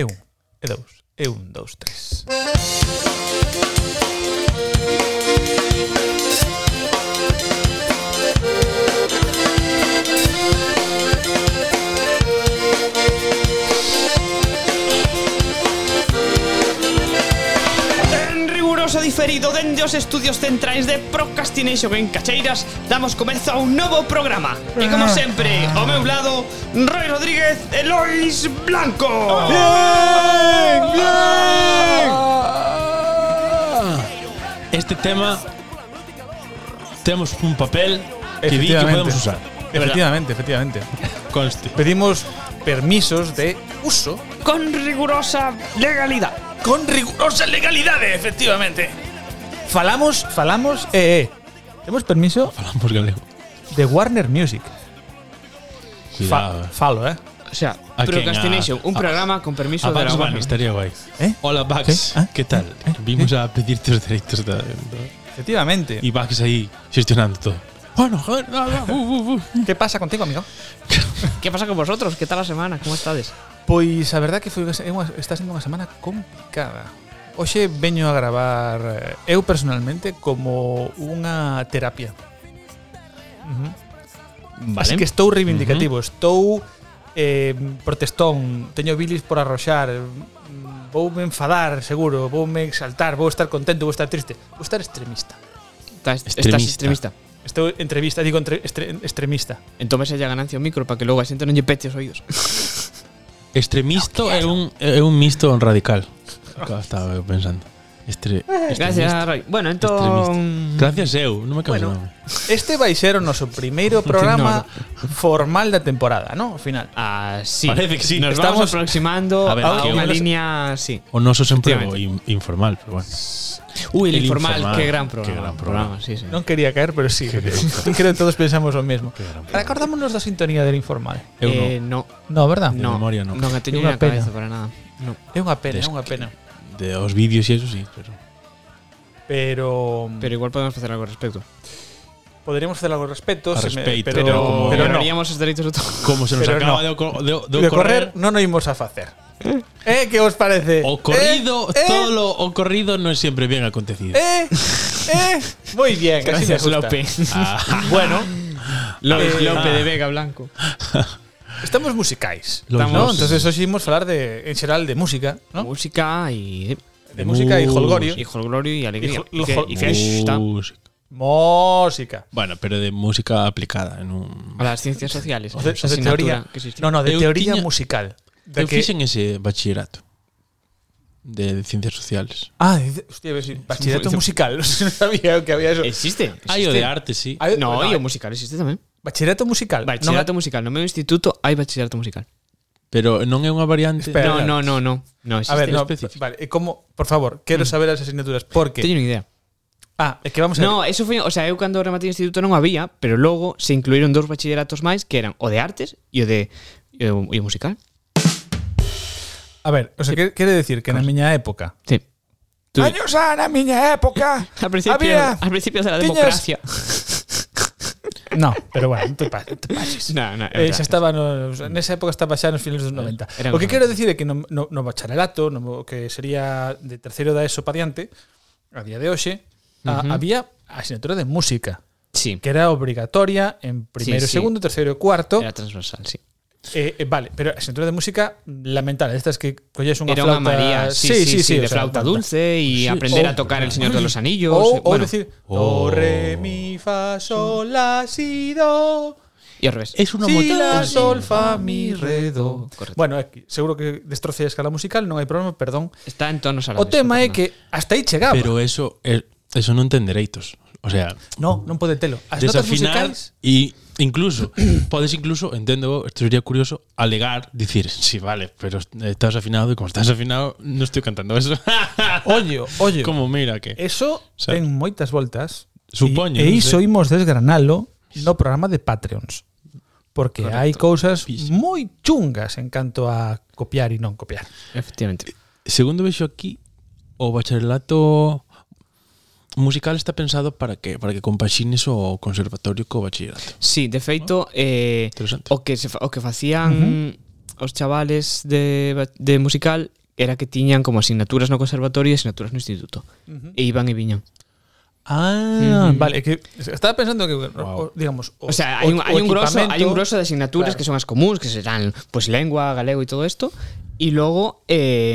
e un, e dous, e un, dous, tres. En riguroso diferido dende os estudios centrais de Procrastination en Cacheiras damos comezo a un novo programa E como sempre, ao meu lado, Roy Rodríguez e Lois Blanco Ah. Bien, bien. Este tema temos un papel que di que Efectivamente. podemos usar. De verdad, Efectivamente, efectivamente. conste. Pedimos permisos de uso Con rigurosa legalidad con rigurosa legalidade, efectivamente. Falamos, falamos, eh, eh. Temos permiso Falamos galego. de Warner Music. Cuidado. Fa- falo, eh. O sea, A quen, Procrastination, a- un a- programa con permiso A de la Bugs Bunny Warner. estaría guai. ¿Eh? Hola Bugs, Sí, ah, que tal? Vimos a pedirte os dereitos da... da- Efectivamente. Y Bugs aí xestionando todo. Bueno, joder, da, da, uh, uh, uh. que pasa contigo, amigo? ¿Qué pasa con vosotros? ¿Qué tal la semana? ¿Cómo estades? Pois a verdad que foi unha- é unha- está sendo unha semana complicada. Hoxe veño a gravar eh, eu personalmente como unha terapia. Vale. Así que estou reivindicativo, estou eh, protestón, teño bilis por arroxar, mm, voume enfadar, seguro, voume exaltar, vou estar contento, vou estar triste, vou estar extremista. Estás Extremista. extremista. extremista. Estou entrevista, digo entre, estre, extremista. Entón ella ganancia o micro para que logo a xente non lle pete os oídos. Extremisto é un, é un misto radical. Estaba eu pensando. Estre, Gracias, extremista. Roy. Bueno, Extremista. entón... Gracias eu, non me acabas Bueno. bueno. Este vai ser o noso primeiro programa formal da temporada, non? Ao final. Ah, sí. Parece que sí. Nos Estamos- vamos aproximando A a, ver, que una unos- línea, sí. O noso sempre é o in, informal, pero bueno. Uy, el, El informal, informal. qué gran programa. Qué gran programa. sí, sí. Non quería caer, pero sí. Creo que todos pensamos o mesmo. Recordámonos da sintonía del informal. Eu non. Eh, no, No, verdad? De no, memoria, no. a teño Unha na cabeza pena. para nada. No. É unha pena, é Des- unha pena. De os vídeos e eso sí, pero Pero, Pero igual podemos hacer algo al respecto. poderíamos facer algo al respecto, A se me- respecto, pero, pero como- pero no. haríamos os dereitos de todos. como se nos Pero acaba no. de, oco- de, de, De ocorrer, correr non o imos a facer. Eh, que os parece? o corrido, eh, todo lo ocorrido non é sempre bien acontecido. Eh, eh, eh. Moi bien, así me Gracias, gusta. Lope. Ah, Bueno, López, Eh, Lope ah. de Vega Blanco. estamos musicais. Los ¿no? dos. Entonces hoxe imos falar de en xeral de música, ¿no? Música y, pues, De música e Mus- holgorio. y jolgorio y Y alegría. jo- Y fe- y fiesta. música. Música. Bueno, pero de música aplicada en un A las ciencias sociales. O de, o de asignatura teoría. que existe. No, no, de Eu teoría tiña- musical. De Eu que- fixen ese bachillerato de, ciencias sociales. Ah, dice- hostia, a ver si- bachillerato musical. No sabía que había eso. Existe. existe. Ah, o de arte, sí. Hay- No, eh, no, y hay- o musical existe tamén. Bachillerato musical. Bachillerato No, musical. No meu instituto hai bachillerato musical. Pero non é unha variante. Espera. No, no, no, no. No existe. a ver, no, específico. vale, e como, por favor, Mm. quiero saber las asignaturas porque Teño unha idea. Ah, é que vamos a ver. No, eso foi, o sea, eu cando rematei o instituto non había, pero logo se incluíron dous bachilleratos máis que eran o de artes e o de e o, e o musical. A ver, o sea, que- quiere decir que na miña época. Sí. Tú- Años a na miña época. Al principio, había al principio de la tiñas- democracia. No, pero bueno, non te pa- non te pases. No, no, Eh, xa estaba nos, nesa época estaba xa nos finales dos 90. Era o que un- quero dicir é que no, no, no bacharelato, no, que sería de terceiro da ESO pa diante, a día de hoxe, a, había a asignatura de música, Sí. que era obrigatoria en primeiro, Sí, sí. segundo, terceiro e cuarto. Era transversal, sí. Eh, eh, vale, pero a asignatura de música lamentable, estas que colles unha Era flauta. unha María, sí, sí, sí, o de sea, flauta bueno. dulce y Sí, aprender o- a tocar el Señor de los Anillos. Ou, eh, ou bueno, decir Do, Oh. re, mi, fa, sol, la, si, do y al revés. Es una Si, moto- la, es- sol, fa, mi, re, do Correcto. Bueno, aquí, seguro que destrocé a escala musical, non hai problema, perdón Está en tonos árabes. O tema é no que pasa hasta aí chegaba Pero eso eh, eso non ten dereitos. O sea, No, non pode telo As notas desafinar musicais e incluso podes incluso, entendo, esto sería curioso alegar, dicir, sí, vale, pero estás afinado e como estás afinado non estou cantando eso. Ollo, ollo como mira que. Eso Sa- ten moitas voltas Supoño, E, e non iso sei. imos desgranalo no programa de Patreons Porque hai cousas Fixo. moi chungas en canto a copiar e non copiar nada. Efectivamente. Segundo vexo aquí o bacharelato musical está pensado para que para que compaxines o conservatorio co bachillerato. Ah, Sí, de feito, eh, Interesante. o que se fa- o que facían os chavales de, ba- de musical era que tiñan como asignaturas no conservatorio e asignaturas no instituto. Ujú. E iban e viñan. Ah, vale, que estaba pensando que Wow. o- digamos, O sea, hai un, hai un grosso, hai un grosso de asignaturas Claro. claro. que son as comuns, que serán pues lengua, galego e todo isto, e logo eh,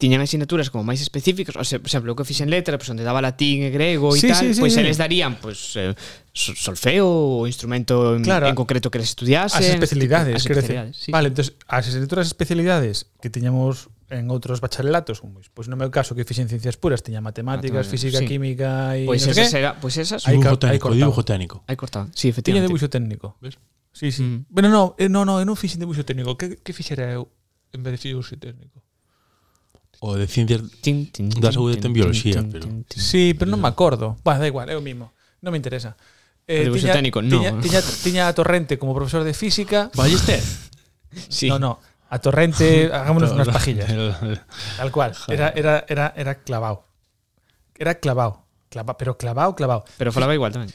tiñan asignaturas como máis específicas, o sea, por exemplo, o que fixen letra, pues onde daba latín e grego e Sí, tal, sí, sí, pois sí. eles darían pues eh, so- solfeo o instrumento en, Claro. en concreto que eles estudiasen, as especialidades, as quero decir. especialidades, sí. Vale, entonces, as asignaturas especialidades que tiñamos en outros bacharelatos, como pois pues, no meu caso que fixen ciencias puras, tiña matemáticas, Matemáticas, física, sí. química e Pois non esas sei que. era, pois esas Ahí Dibujo ca- ahí técnico, cortamos. dibujo técnico. aí cortaban. Sí, Tiña efectivamente. debuxo técnico. Ves? Sí, sí. Mm. Bueno, no, eh, no, no, eu non fixen debuxo técnico. Que, que fixera eu en vez de debuxo técnico? O de ciencias. Tin, tin, Da tin, saúde tin, ten tin, bioloxía, tin, pero- tin, tin. Sí, pero non me acordo. Bah, da igual, é o mismo. Non me interesa. Eh, O debuxo técnico, no. tiña, tiña, tiña a Torrente como profesor de física. Ballester. Sí. No, no. A Torrente, hagámonos unas pajillas. El- Tal cual. Era, era, era, era clavado. Era clavado. Clava, pero clavado, clavado. Pero falaba igual tamén.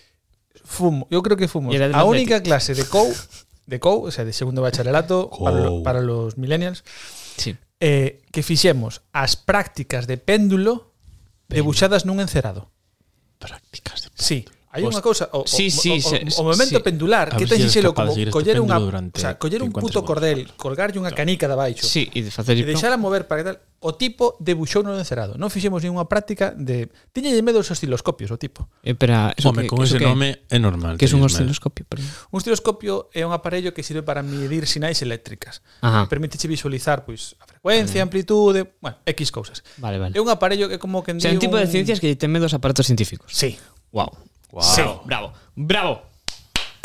Fumo. Yo creo que fumo. Y era del A Atleti. única clase de COU, de COU, o sea, de segundo bacharelato para, lo- Cou. para los millennials, Sí. eh, que fixemos as prácticas de péndulo debuxadas nun encerado. Prácticas de. Sí. Hai unha Host- cousa, o, o- Sí, o, sí, o, se- o momento sí. pendular, A que ten ver si eres sinxelo como capaz de seguir este coller unha, péndulo o sea, durante coller un 50 puto segundos. cordel, colgarlle unha canica de baixo. Sí, e de facer e deixala mover para que tal. O tipo debuxou no encerado. Non fixemos ninguna práctica de... Tiñelle medo os osciloscopios, o tipo. Eh, Espera, eso Home, que- con que eso que- ese nome é normal. Que es un teñes medo. osciloscopio, perdón. Un osciloscopio é un aparello que sirve para medir sinais eléctricas. Ajá. Permíteche visualizar pois a frecuencia, a amplitude, bueno, X cousas. Vale, vale. É un aparello que como que O sea, un tipo de ciencias que teme dos aparatos científicos. Sí, Wow. Guau. Bravo, bravo, bravo.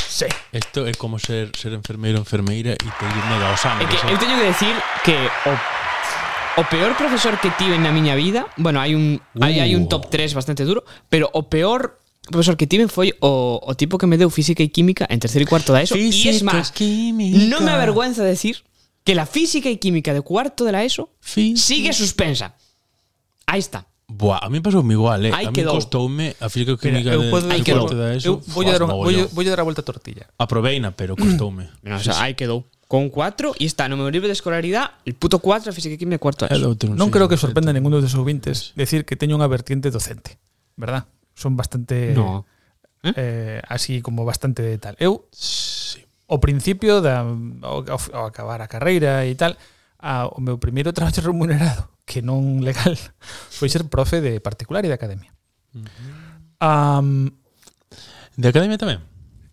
sí. Isto é como ser, ser enfermeiro ou enfermeira e ter un É mega o sangue. que eu sabes? teño que decir que o, o peor profesor que tive na miña vida, bueno, hai un hai, hai un Uh. top 3 bastante duro, pero o peor profesor que tive foi o, o tipo que me deu física e química en terceiro e cuarto da ESO. E es Física, máis, química. non me avergüenza decir que la física e química de cuarto de la ESO Fí- sigue suspensa. Aí está. Buah, a mí pasoume igual, eh. Aí a mí quedou. costoume a física Mira, química eu podo de, aí de quedou. corte da eu ESO. vou dar unha, Fuah, vou, mogollón. vou dar a Mm. volta a tortilla. Aproveina, pero costoume. No, o sea, aí quedou. Con 4 e está no meu libro de escolaridad el puto 4 de física e química de cuarto de Eu ESO. dou ter un Non creo que seis, sorprenda a ninguno dos ouvintes decir que teño unha vertiente docente, verdad? Son bastante No. eh, así como bastante de tal. Eu Sí. o principio da ao, ao, ao acabar a carreira e tal, a, o meu primeiro traballo remunerado, que non legal, foi ser profe de particular e de academia. Um, De academia tamén.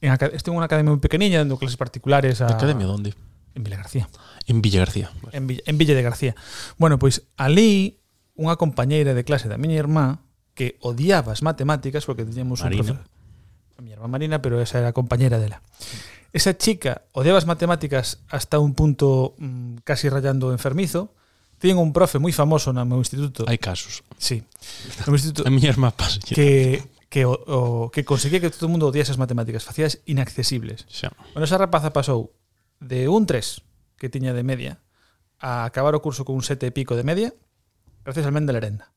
en aca estive en unha academia moi pequeniña dando clases particulares a De academia onde? en Vila García. En Villa García. Vale. Pues. en Villa, en Villa de García. Bueno, pois ali unha compañeira de clase da miña irmá que odiaba as matemáticas porque tiñamos un Marina. profesor. A miña irmá Marina, pero esa era a compañeira dela. Esa chica odiaba as matemáticas hasta un punto mm, casi rayando o enfermizo. Tiñen un profe moi famoso no meu instituto. Hai casos. Sí. No meu instituto A miña irmá pasa. que que o, o que conseguía que todo o mundo odiase as matemáticas, facías inaccesibles. Xa. Bueno, esa rapaza pasou de un 3 que tiña de media a acabar o curso con un 7 e pico de media gracias al men de Lerenda.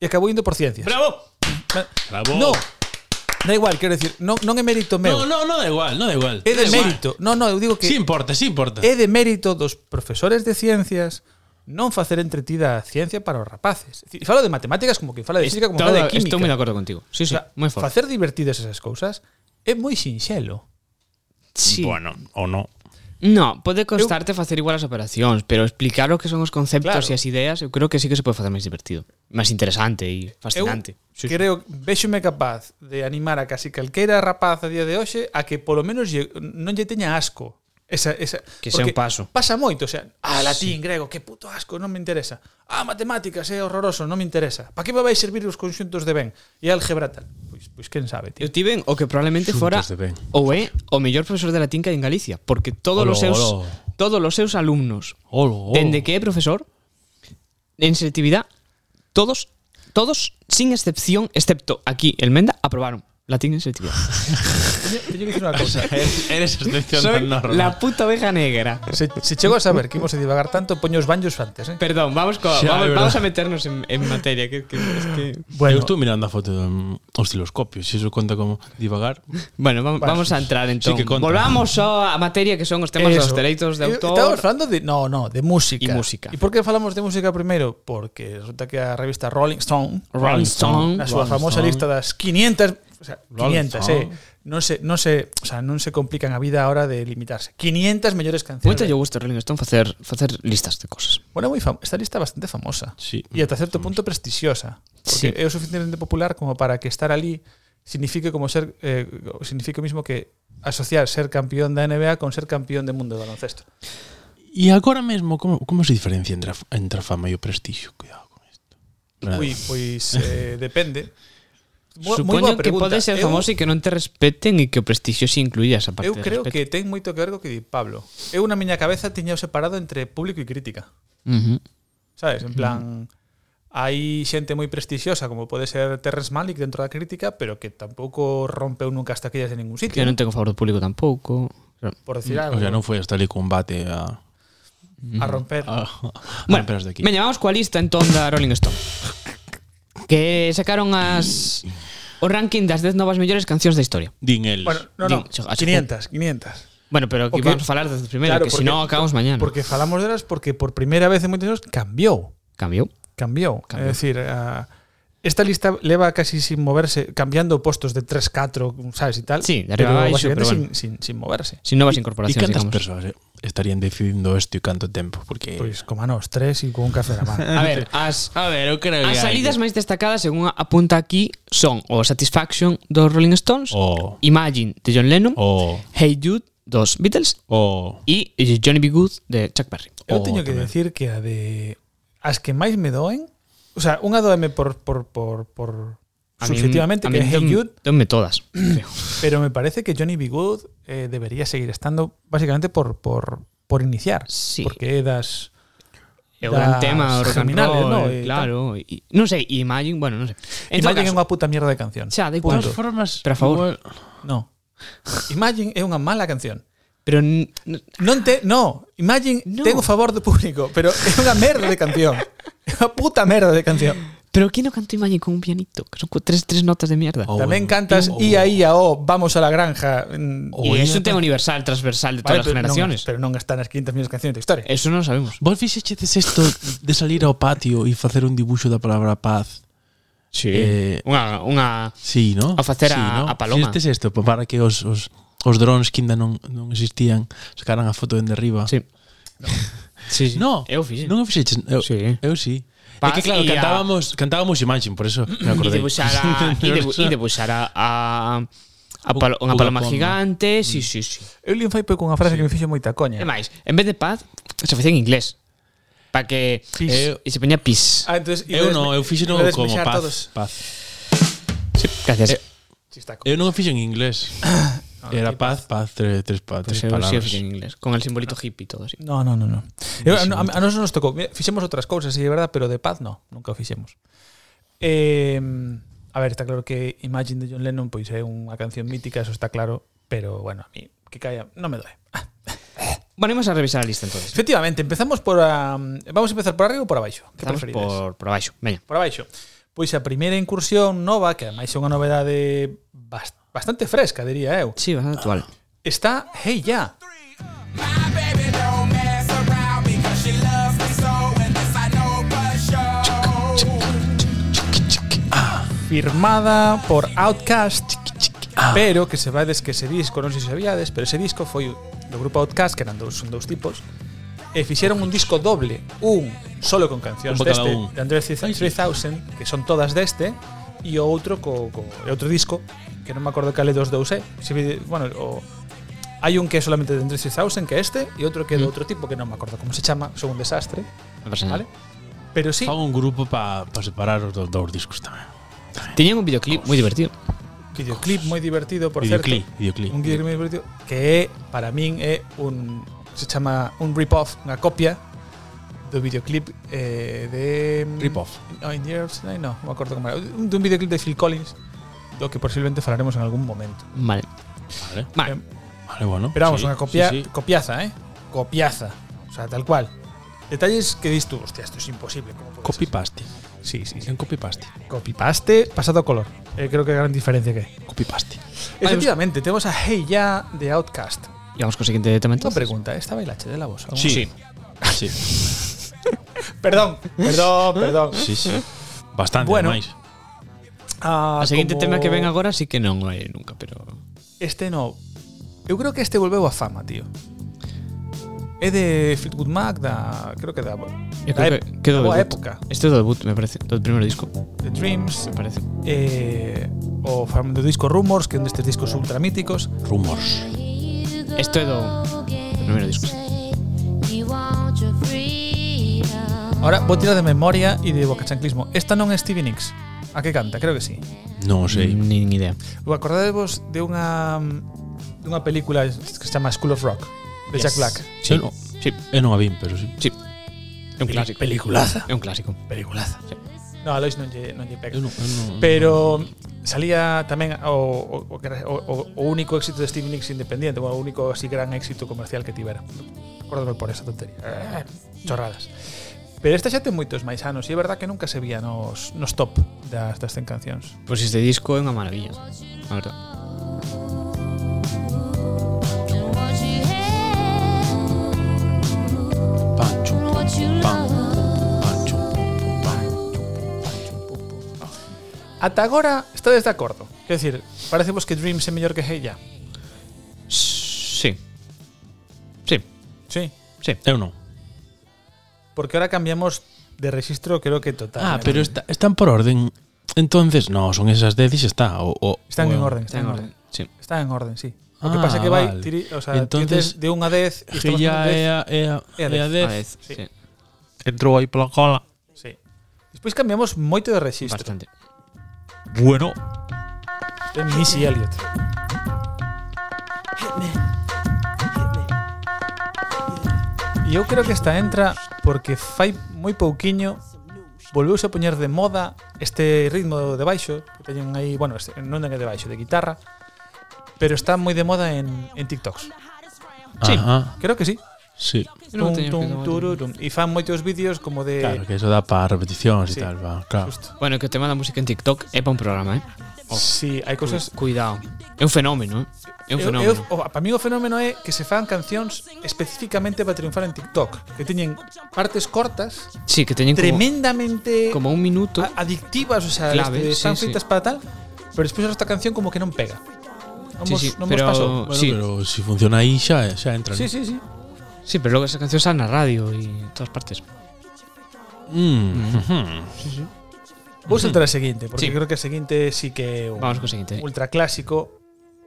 E acabou indo por ciencias. Bravo. Ma- Bravo. No, da igual, quero decir, non, non é mérito No, meu. no, no da igual, no da igual. é de Da igual. mérito. Non, non, eu digo que Sí importa, sí importa. é de mérito dos profesores de ciencias non facer entretida a ciencia para os rapaces. E falo de matemáticas como que fala de física como que fala de química. Estou moi de acordo contigo. Sí, O sí, sea, moi forte. facer divertidas esas cousas é moi sinxelo. Sí. Bueno, ou no. No, pode costarte facer igual as operacións, pero explicar o que son os conceptos Claro. e as ideas, eu creo que sí que se pode facer máis divertido, máis interesante e fascinante. Eu creo, véxome capaz de animar a casi calquera rapaz a día de hoxe a que polo menos lle, non lle teña asco. Esa, esa, Que sea porque un paso. Pasa moito, o sea, ah, latín, grego, que puto asco, non me interesa. Ah, matemáticas, é horroroso, non me interesa. Pa que me vais servir os conxuntos de ben? E álgebra tal. Pois, pois quen sabe, tío. Eu tiven o que probablemente fora Xuntos de ben. ou é o mellor profesor de latín que hai en Galicia, porque todos Olo, os seus olo. Oh. todos os seus alumnos, Olo, olo. dende que é profesor, en selectividad, todos todos sin excepción, excepto aquí el Menda, aprobaron. Latín en selectividad. Teño que dicir unha cousa. Eres, eres excepción Soy tan normal. la puta oveja negra. Se, se chego a saber que imos a divagar tanto, poño os banjos antes, eh? Perdón, vamos, co- Xa, é vamos, verdad. vamos a meternos en, en materia. Que, que, es que- Bueno. Eu estou mirando a foto do mm, osciloscopio, se iso conta como divagar. Bueno, vamos, vamos a entrar entón. que conta. Volvamos só a materia que son os temas dos dereitos de Eh, Estamos autor. falando de no, no, de música. Y música. E por que falamos de música primeiro? Porque resulta que a revista Rolling Stone Rolling Stone. na súa Rolling famosa Stone. lista das 500 o sea, Rolling 500, Stone. eh, non se, non se, o sea, non se complican a vida a hora de limitarse. 500 mellores canciones. Moito lle gusta a Rolling Stone facer, facer listas de cosas. Bueno, moi fam esta lista é bastante famosa. Sí. E ata certo punto prestixiosa. Porque Sí. sí. é o suficientemente popular como para que estar ali signifique como ser eh, signifique o mismo que asociar ser campeón da NBA con ser campeón do mundo do baloncesto. E agora mesmo, como, como se diferencia entre, a f- entre a fama e o prestixio? Cuidado con isto. Ui, pois eh, depende. Mo- moi boa Supoño que pregunta. podes ser Eu- famoso e que non te respeten e que o prestixio se incluya esa parte Eu de creo respeto. que ten moito que ver co que di Pablo. Eu na miña cabeza tiña o separado entre público e crítica. Ujú. Sabes, en plan hai xente moi prestixiosa como pode ser Terrence Malick dentro da crítica, pero que tampouco rompeu nunca hasta aquellas en ningún sitio. Que non tengo favor do público tampouco. Claro. por decir algo. Mm, O sea, non Ah, foi hasta ali combate a... a romper. a, a Bueno, romper as de aquí. veña, vamos coa lista entón da Rolling Stone. Que sacaron as o ranking das 10 novas mellores cancións da historia. Din eles. Bueno, no, Din- no, se- se- 500, 500. Bueno, pero aquí Ok. vamos a falar desde primeiro, que se non acabamos mañana. Porque falamos delas porque por primeira vez en moitos anos cambiou. Cambiou. cambiou. Cambiou. É dicir, a, ah, esta lista leva casi sin moverse, cambiando postos de 3, 4, sabes, y tal. Sí, de arriba a baixo, básicamente pero sin, bueno. sin, sin moverse. Sin novas E incorporacións, cantas digamos. persoas eh, estarían decidindo isto e canto tempo? Porque... Pois, Pues como a nos, tres e con un café na man. A ver, as a ver, eu creo As salidas máis destacadas, según apunta aquí, son o Satisfaction dos Rolling Stones, O... Imagine de John Lennon, O... Hey Jude dos Beatles O... e Johnny B. Good de Chuck Berry. Eu Oh, teño que tamén. decir que a de as que máis me doen, o sea, unha doeme por por por por subjetivamente que é Hey Jude, Donme todas. pero me parece que Johnny B. Good eh, debería seguir estando basicamente por por por iniciar, Sí. porque é das É o gran Das tema, o rock and germinales, roll, no? eh, E claro. E, non sei, e Imagine, bueno, non sei. En todo Imagine é caso, unha puta mierda de canción. xa, da De igual. todas formas, Pero a favor. igual- No. Imagine é unha mala canción. Pero n- n- Non te, no, Imagine no. No. ten o favor do público, pero é unha merda de canción. É unha puta merda de canción. pero que non canto Imagine con un pianito, que son co- tres tres notas de mierda. Oh, Tamén bueno. cantas Oh. ia ia o vamos a la granja. mm, Oh, e bueno. é un tema universal, transversal de todas as pero generaciones. Non, pero non están as 500 millóns de canciones da historia. Eso non o sabemos. Vos fixeches isto de salir ao patio e facer un dibuxo da palabra paz. Sí. Eh, Unha, unha Sí, ¿no? A facer sí, a- a paloma. Fixestes isto pa- para que os, os, os drones que ainda non, non existían sacaran a foto dende arriba. Sí. Sí, sí. No, eu fixen. Non o fixeches. Eu, Sí. eu sí. Paz é que claro, e a- cantábamos, cantábamos Imagine, por eso me E acordei. debuxar a, e debu, e debuxar a, a, a palo, unha Uga paloma Ponga. gigante, sí, sí, sí. Eu li un fai pouco unha frase sí. que me fixo moita coña. E máis, en vez de paz, se facía en inglés. Para que Pis. eh, e se poñía pis. Ah, entonces, eu non, eu fixen como paz, paz. Sí, gracias. Eh, Chistaco. Eu non o fixen en inglés. Era paz, paz, tres, tres, pa, Ah, pues tres eu sí o palabras. fixen en inglés, con el simbolito hippie e todo así. No, no, no, no. Eu, a, a, a nos nos tocou. Mira, fixemos outras cousas, sí, é verdad, pero de paz no, nunca o fixemos. Eh, a ver, está claro que Imagine de John Lennon pois é unha canción mítica, eso está claro, pero bueno, a mí que caia, non me doe. Bueno, imos a revisar a lista entonces. Efectivamente, empezamos por a, vamos a empezar por arriba ou por abaixo? Que Estamos preferides? por, por baixo. Veña. por abaixo. Pois a primeira incursión nova, que ademais é unha novedade bas- bastante fresca, diría eu, Sí, bastante actual. está Hey Ya. My baby don't mess around because she loves me so, and this I know for sure. firmada por Outcast Ah. pero que se vades que ese disco non sei se sabíades pero ese disco foi do grupo Outcast que eran dous, son dous tipos e fixeron un disco doble un solo con cancións Un pa cada deste un. de Android 3000 que son todas deste e o outro co, co e outro disco que non me acordo cale dos dous é se vide, bueno o hai un que é solamente de Android 3000 que é este e outro que é de Mm. outro tipo que non me acordo como se chama son un desastre Non pasa vale nada. pero sí Fan un grupo para pa separar os dos, dos discos tamén. Tiñan un videoclip moi divertido. videoclip moi divertido por Videoclip, certo videoclip. un videoclip moi divertido que é, para min é un se chama un rip-off, unha copia do videoclip eh, de mm, Rip-off. No, in the Year of Tonight, no, non me acordo como era. Un, dun videoclip de Phil Collins do que posiblemente falaremos en algún momento. Vale. Vale, Vale. vale, bueno. Pero vamos, sí, una copia, sí, sí. copiaza, ¿eh? Copiaza. O sea, tal cual. Detalles que dices tú, hostia, esto es imposible. ¿cómo puede ser? Copy-paste. Sí, sí, sí. En copy-paste. Copypaste pasado a color. Eh, creo que gran diferencia que hay. Copy-paste. pues- Efectivamente, tenemos a Hey Ya de Outcast. Y vamos con el siguiente tema Una entonces. pregunta, ¿estaba el H de la voz? aún? Sí. Sí, Perdón, perdón, perdón. sí, sí. Bastante, Bueno. ademais. Ah, O seguinte como- tema que ven agora sí que non hai nunca, pero... Este no. Eu creo que este volveu a fama, tío. É de Fleetwood Mac, da, creo que da, Eu da creo ep- que, que do da boa debut. época. Este é do debut, me parece. Do primeiro disco, me The Dreams, parece. eh, o fan do disco Rumors, que é un destes discos ultramíticos. Rumors. Este é do, do primeiro disco. Ahora vou tirar de memoria e de bocachanclismo. Esta non é Stevie Nicks. A que canta? Creo que sí. Non sei. Nin idea. O acordadevos de unha dunha película que se chama School of Rock de Jack Yes. Black. Sí. Eu non, Sí, eu non a vin, pero sí. sí. É un clásico. Peliculaza. É un clásico. Peliculaza. No, a Lois non lle, non lle pega. Eu non, eu non, Pero salía tamén o, o, o, que era- o, o único éxito de Stevie Nicks independiente, o único así gran éxito comercial que tivera. Acórdame por esa tontería. Ah, Chorradas. Pero esta xa ten moitos máis anos e é verdad que nunca se vía nos, nos top das, das 100 cancións. Pois pues este disco é unha maravilla, a verdad. Pan, chum, pan, pan, chum, pan. Ata agora estades de acordo. Quer decir, parece vos que Dreams é mellor que Heya. Sí. Sí, Sí. sí. Eu non. Porque ahora cambiamos de registro creo que total. Ah, pero está, están por orden. Entonces, no, son esas 10 y ya está. O, o- están en o- orden, Está en orden. Sí. Están en orden, sí. Lo que Ah, pasa que va vale. o sea, Entonces, Entonces, de 1 a 10 y Que estamos ya en 10. é a, é a, É a é a A 10. vez, Sí. sí. Entrou aí pola cola. Sí. Despois cambiamos moito de registro. Bastante. Bueno. De Eh, Missy Elliot. E eu creo que esta entra porque fai moi pouquiño volveuse a poñer de moda este ritmo de baixo, que teñen aí, bueno, este, non é de baixo, de guitarra, pero está moi de moda en, en TikToks. Sí. Ajá, Creo que sí. sí. Eu Tum, non teño tum, cuidado. tururum. E fan moitos vídeos como de... Claro, que eso dá para repeticións e Sí. tal, va, claro. Justo. Bueno, que o tema da música en TikTok é pa un programa, eh? Sí, hai cousas Cuidado. É un fenómeno, eh? É un fenómeno. para mí o fenómeno é que se fan cancións especificamente para triunfar en TikTok, que teñen partes cortas, sí, que teñen como, tremendamente como un minuto. a- adictivas, o sea, Clave, este, sí, están sí. feitas para tal, pero despois esta canción como que non pega. Non Sí, vos, sí, non pero- vos pasou. Bueno, Sí. pero si funciona aí xa, eh, xa entra. Sí, sí, sí. Sí, pero logo esa canción está na radio e en todas partes. Mm, ujú. Vou saltar a seguinte, porque Sí. creo que a seguinte sí que é un Vamos co seguinte. ultra clásico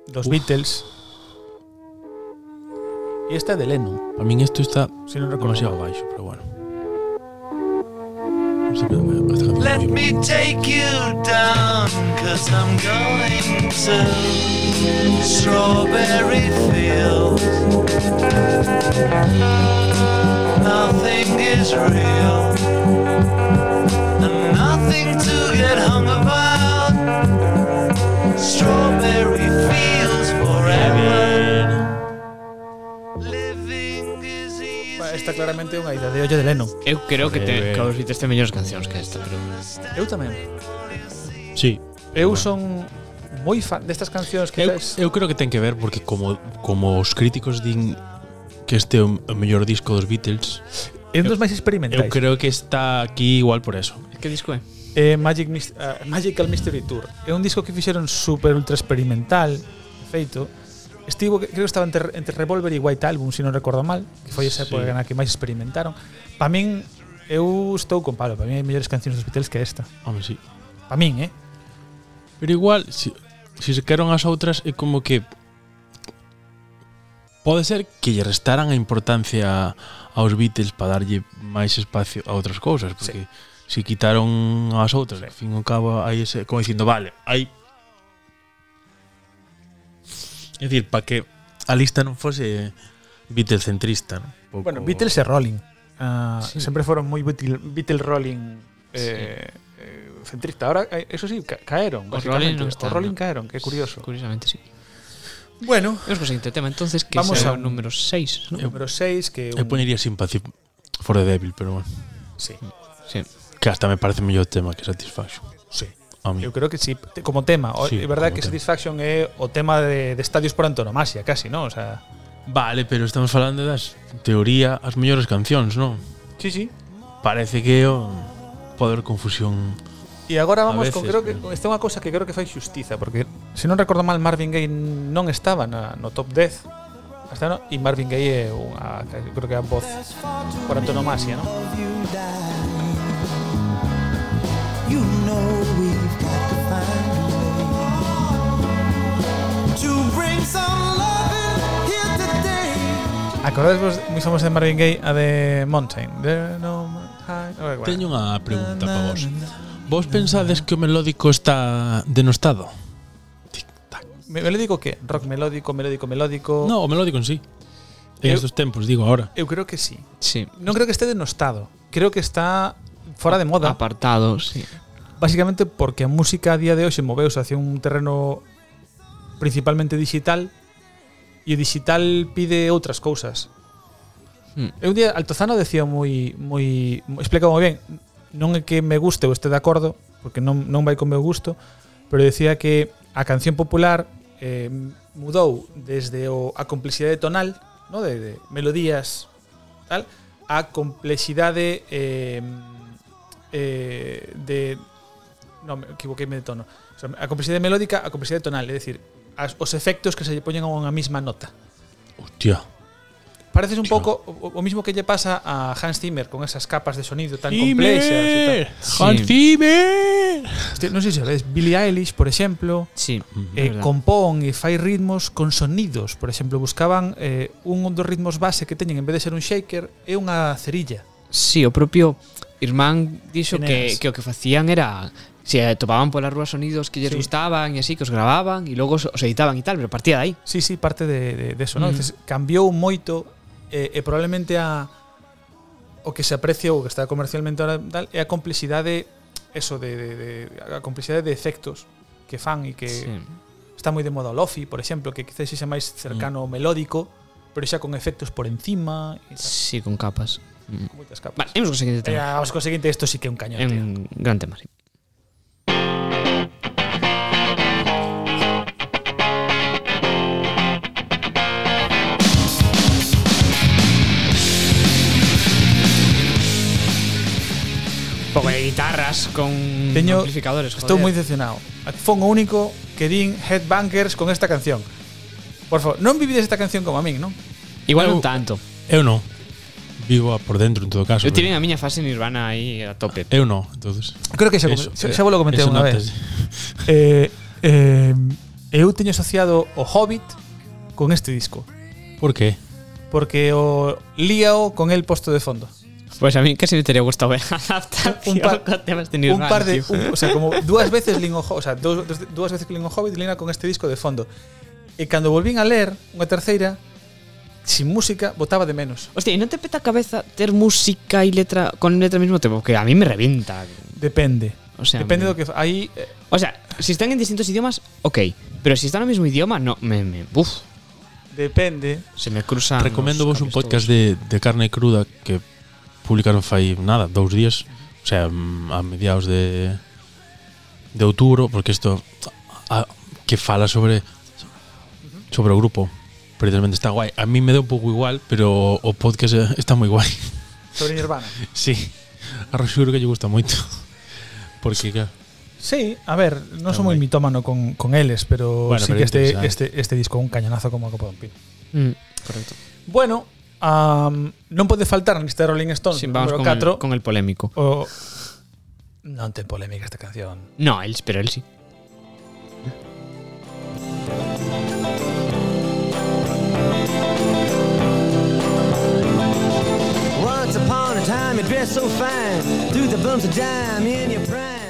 dos Beatles. E esta é de Lennon, Para min isto está se non recordo. demasiado baixo, pero bueno. Esta canción- esta canción é Let moi me boa. take you down, cause I'm going to Strawberry Fields. Nothing is real, and nothing to get hung about. Strawberry Fields forever. Living is easy. Esta claramente é unha idea de olla de Lennon. Eu creo que te, Joder. que os Beatles ten mellores cancións que esta, pero Eu tamén. Sí. Eu son moi fan destas cancións que Eu, tes- eu creo que ten que ver porque como como os críticos din que este é o o mellor disco dos Beatles, é un dos máis eu experimentais. creo que está aquí igual por eso. que disco é? Eh, Magic Mis- ah, Magical Mystery Tour. É un disco que fixeron super ultra experimental, de feito. Estivo, creo que estaba entre, entre Revolver e White Album, se non recordo mal, que foi esa Sí. época na que máis experimentaron. Pa min, eu estou con Pablo, para min hai mellores cancións dos Beatles que esta. Home, sí. Pa min, eh? Pero igual, si, si se quedaron as outras, é como que pode ser que lle restaran a importancia aos Beatles para darlle máis espacio a outras cousas, porque sí. si quitaron as outras, ao fin e ao cabo hai ese como dicindo, vale, hai É dicir, para que a lista non fose Beatles centrista, non? Pouco- Bueno, Beatles e Rolling. Ah, Sempre foron moi Beatle, Beatle Rolling eh, eh, centrista. Ahora, eh, eso sí, ca- caeron. Os básicamente. Rolling no están, Os Rolling ¿no? caeron, qué curioso. Curiosamente, sí. Bueno, Vamos con o seguinte tema, entonces, que Vamos Vamos a ao un- número 6, ¿no? número 6, que... Eu un- poñería Sympathy for the Devil, pero bueno, Sí, Sí. que hasta me parece mellor tema que Satisfaction. sí. A mí. Eu creo que sí, te- como tema. O, Sí, é verdad como que tema. Satisfaction é o tema de, de estadios por antonomasia, casi, ¿no? O sea, Vale, pero estamos falando das en teoría as mellores cancións, non? sí, sí. Parece que é o pode haber confusión. E agora A vamos veces, con creo que pero- esta é unha cousa que creo que fai xustiza, porque se non recordo mal Marvin Gaye non estaba na, no top 10 hasta no, e Marvin Gaye é unha eu creo que é a voz por antonomasia, ¿no? You know we've got to find a way to bring some loving here today. Acordades moi famosa de Marvin Gaye a de Mountain. There no high- Ora, bueno. Teño unha pregunta para vos. Vos pensades que o melódico está denostado? Tic tac. Me- melódico que? Rock melódico, melódico, melódico. No, o melódico en sí. En Oh. Eu- estos tempos, digo ahora. Eu creo que sí. Sí. Non creo que este denostado. Creo que está fora de moda. Apartado, sí. Básicamente porque a música a día de hoxe moveuse hacia un terreno principalmente digital e o digital pide outras cousas. Mm. Eu un día Altozano decía moi moi explicaba moi ben, non é que me guste ou este de acordo, porque non non vai con meu gusto, pero decía que a canción popular eh, mudou desde o, a complexidade tonal, no de, de melodías tal, a complexidade eh, eh, de no, me equivoqueime de tono. O sea, a complexidade melódica, a complexidade tonal, é dicir, as, os efectos que se lle poñen a unha mesma nota. Hostia. Parece un Claro. pouco o, o mismo que lle pasa a Hans Zimmer con esas capas de sonido tan complexas e tal. Zimmer. Sí. Hans Zimmer. Hostia, Non sei se sabedes, Billie Eilish, por exemplo, Sí. eh, Mm, verdad. compón e fai ritmos con sonidos. Por exemplo, buscaban eh, un dos ritmos base que teñen en vez de ser un shaker é unha cerilla. Sí, o propio Irmán dixo que, Teneras. que o que facían era se topaban pola rúa sonidos que lles Sí. gustaban e así, que os grababan e logo os os editaban e tal, pero partía de aí. Sí, sí, parte de, de, de eso, ¿no? Mm. Entonces, cambiou moito eh, e probablemente a o que se aprecia ou que está comercialmente ahora tal é a complexidade eso de, de, de a complexidade de efectos que fan e que Sí. Mm. sí. está moi de moda o lofi, por exemplo, que quizás sexa máis cercano ao melódico, pero xa con efectos por encima e tal, sí, con capas. Mm. con moitas capas. Vale, imos co seguinte Eh, tema. vamos co seguinte, isto sí que é un cañón, É tío. un gran tema, sí. Pouco de guitarras con Teño- amplificadores, Estou moi joder. decepcionado. Fon o único que din Headbangers con esta canción. Por favor, non vivides esta canción como a min, non? Igual un tanto. Eu non. Vivo a por dentro en todo caso. Eu tive a pero miña fase nirvana aí a tope. Eh, Eu non, entonces. Creo que xa, Eso, xa, eh, xa volo comentar eso unha vez. notas. Eh, eh, eu teño asociado o Hobbit con este disco. Por que? Porque o líao con el posto de fondo. Pois pues a mí casi me teria gustado ver adaptación Un par- con temas de Un nirvana. par de... tío. un- o sea, como dúas veces lin o Ho- o sea, dúas, dúas veces que lin o Hobbit lina con este disco de fondo. E cando volvín a ler unha terceira, sin música, botaba de menos. Hostia, ¿y no te peta cabeza ter música y letra con letra al mismo tiempo? Que a mí me revienta. Depende. O sea, Depende do me- que... fa- Aí eh, O sea, si están en distintos idiomas, ok. Pero si están en el mismo idioma, no. Me, me, uf, depende. se me cruzan. Recomendo los vos un cables podcast de, de carne cruda que publicaron fai nada, dous días, o sea, mm, a mediados de de outubro, porque isto a, que fala sobre sobre o grupo. Precisamente está guai. A mí me dá un pouco igual, pero o podcast eh, está moi guai. Sobre Nirvana. Sí. A Roxuro que lle gusta moito. Porque claro, Sí, a ver, non Está son moi guai. mitómano con, con eles, pero Bueno, sí pero que este, interesante. este, este disco é un cañonazo como a Copa de un Pino. todos. Mm, correcto. Bueno, um, non pode faltar neste Rolling Stone sí, Sí, vamos número con 4 el, con el polémico. o... Non ten polémica esta canción No, él, pero él sí. Once upon a time, you dressed so fine, through the bumps of dime in your prime.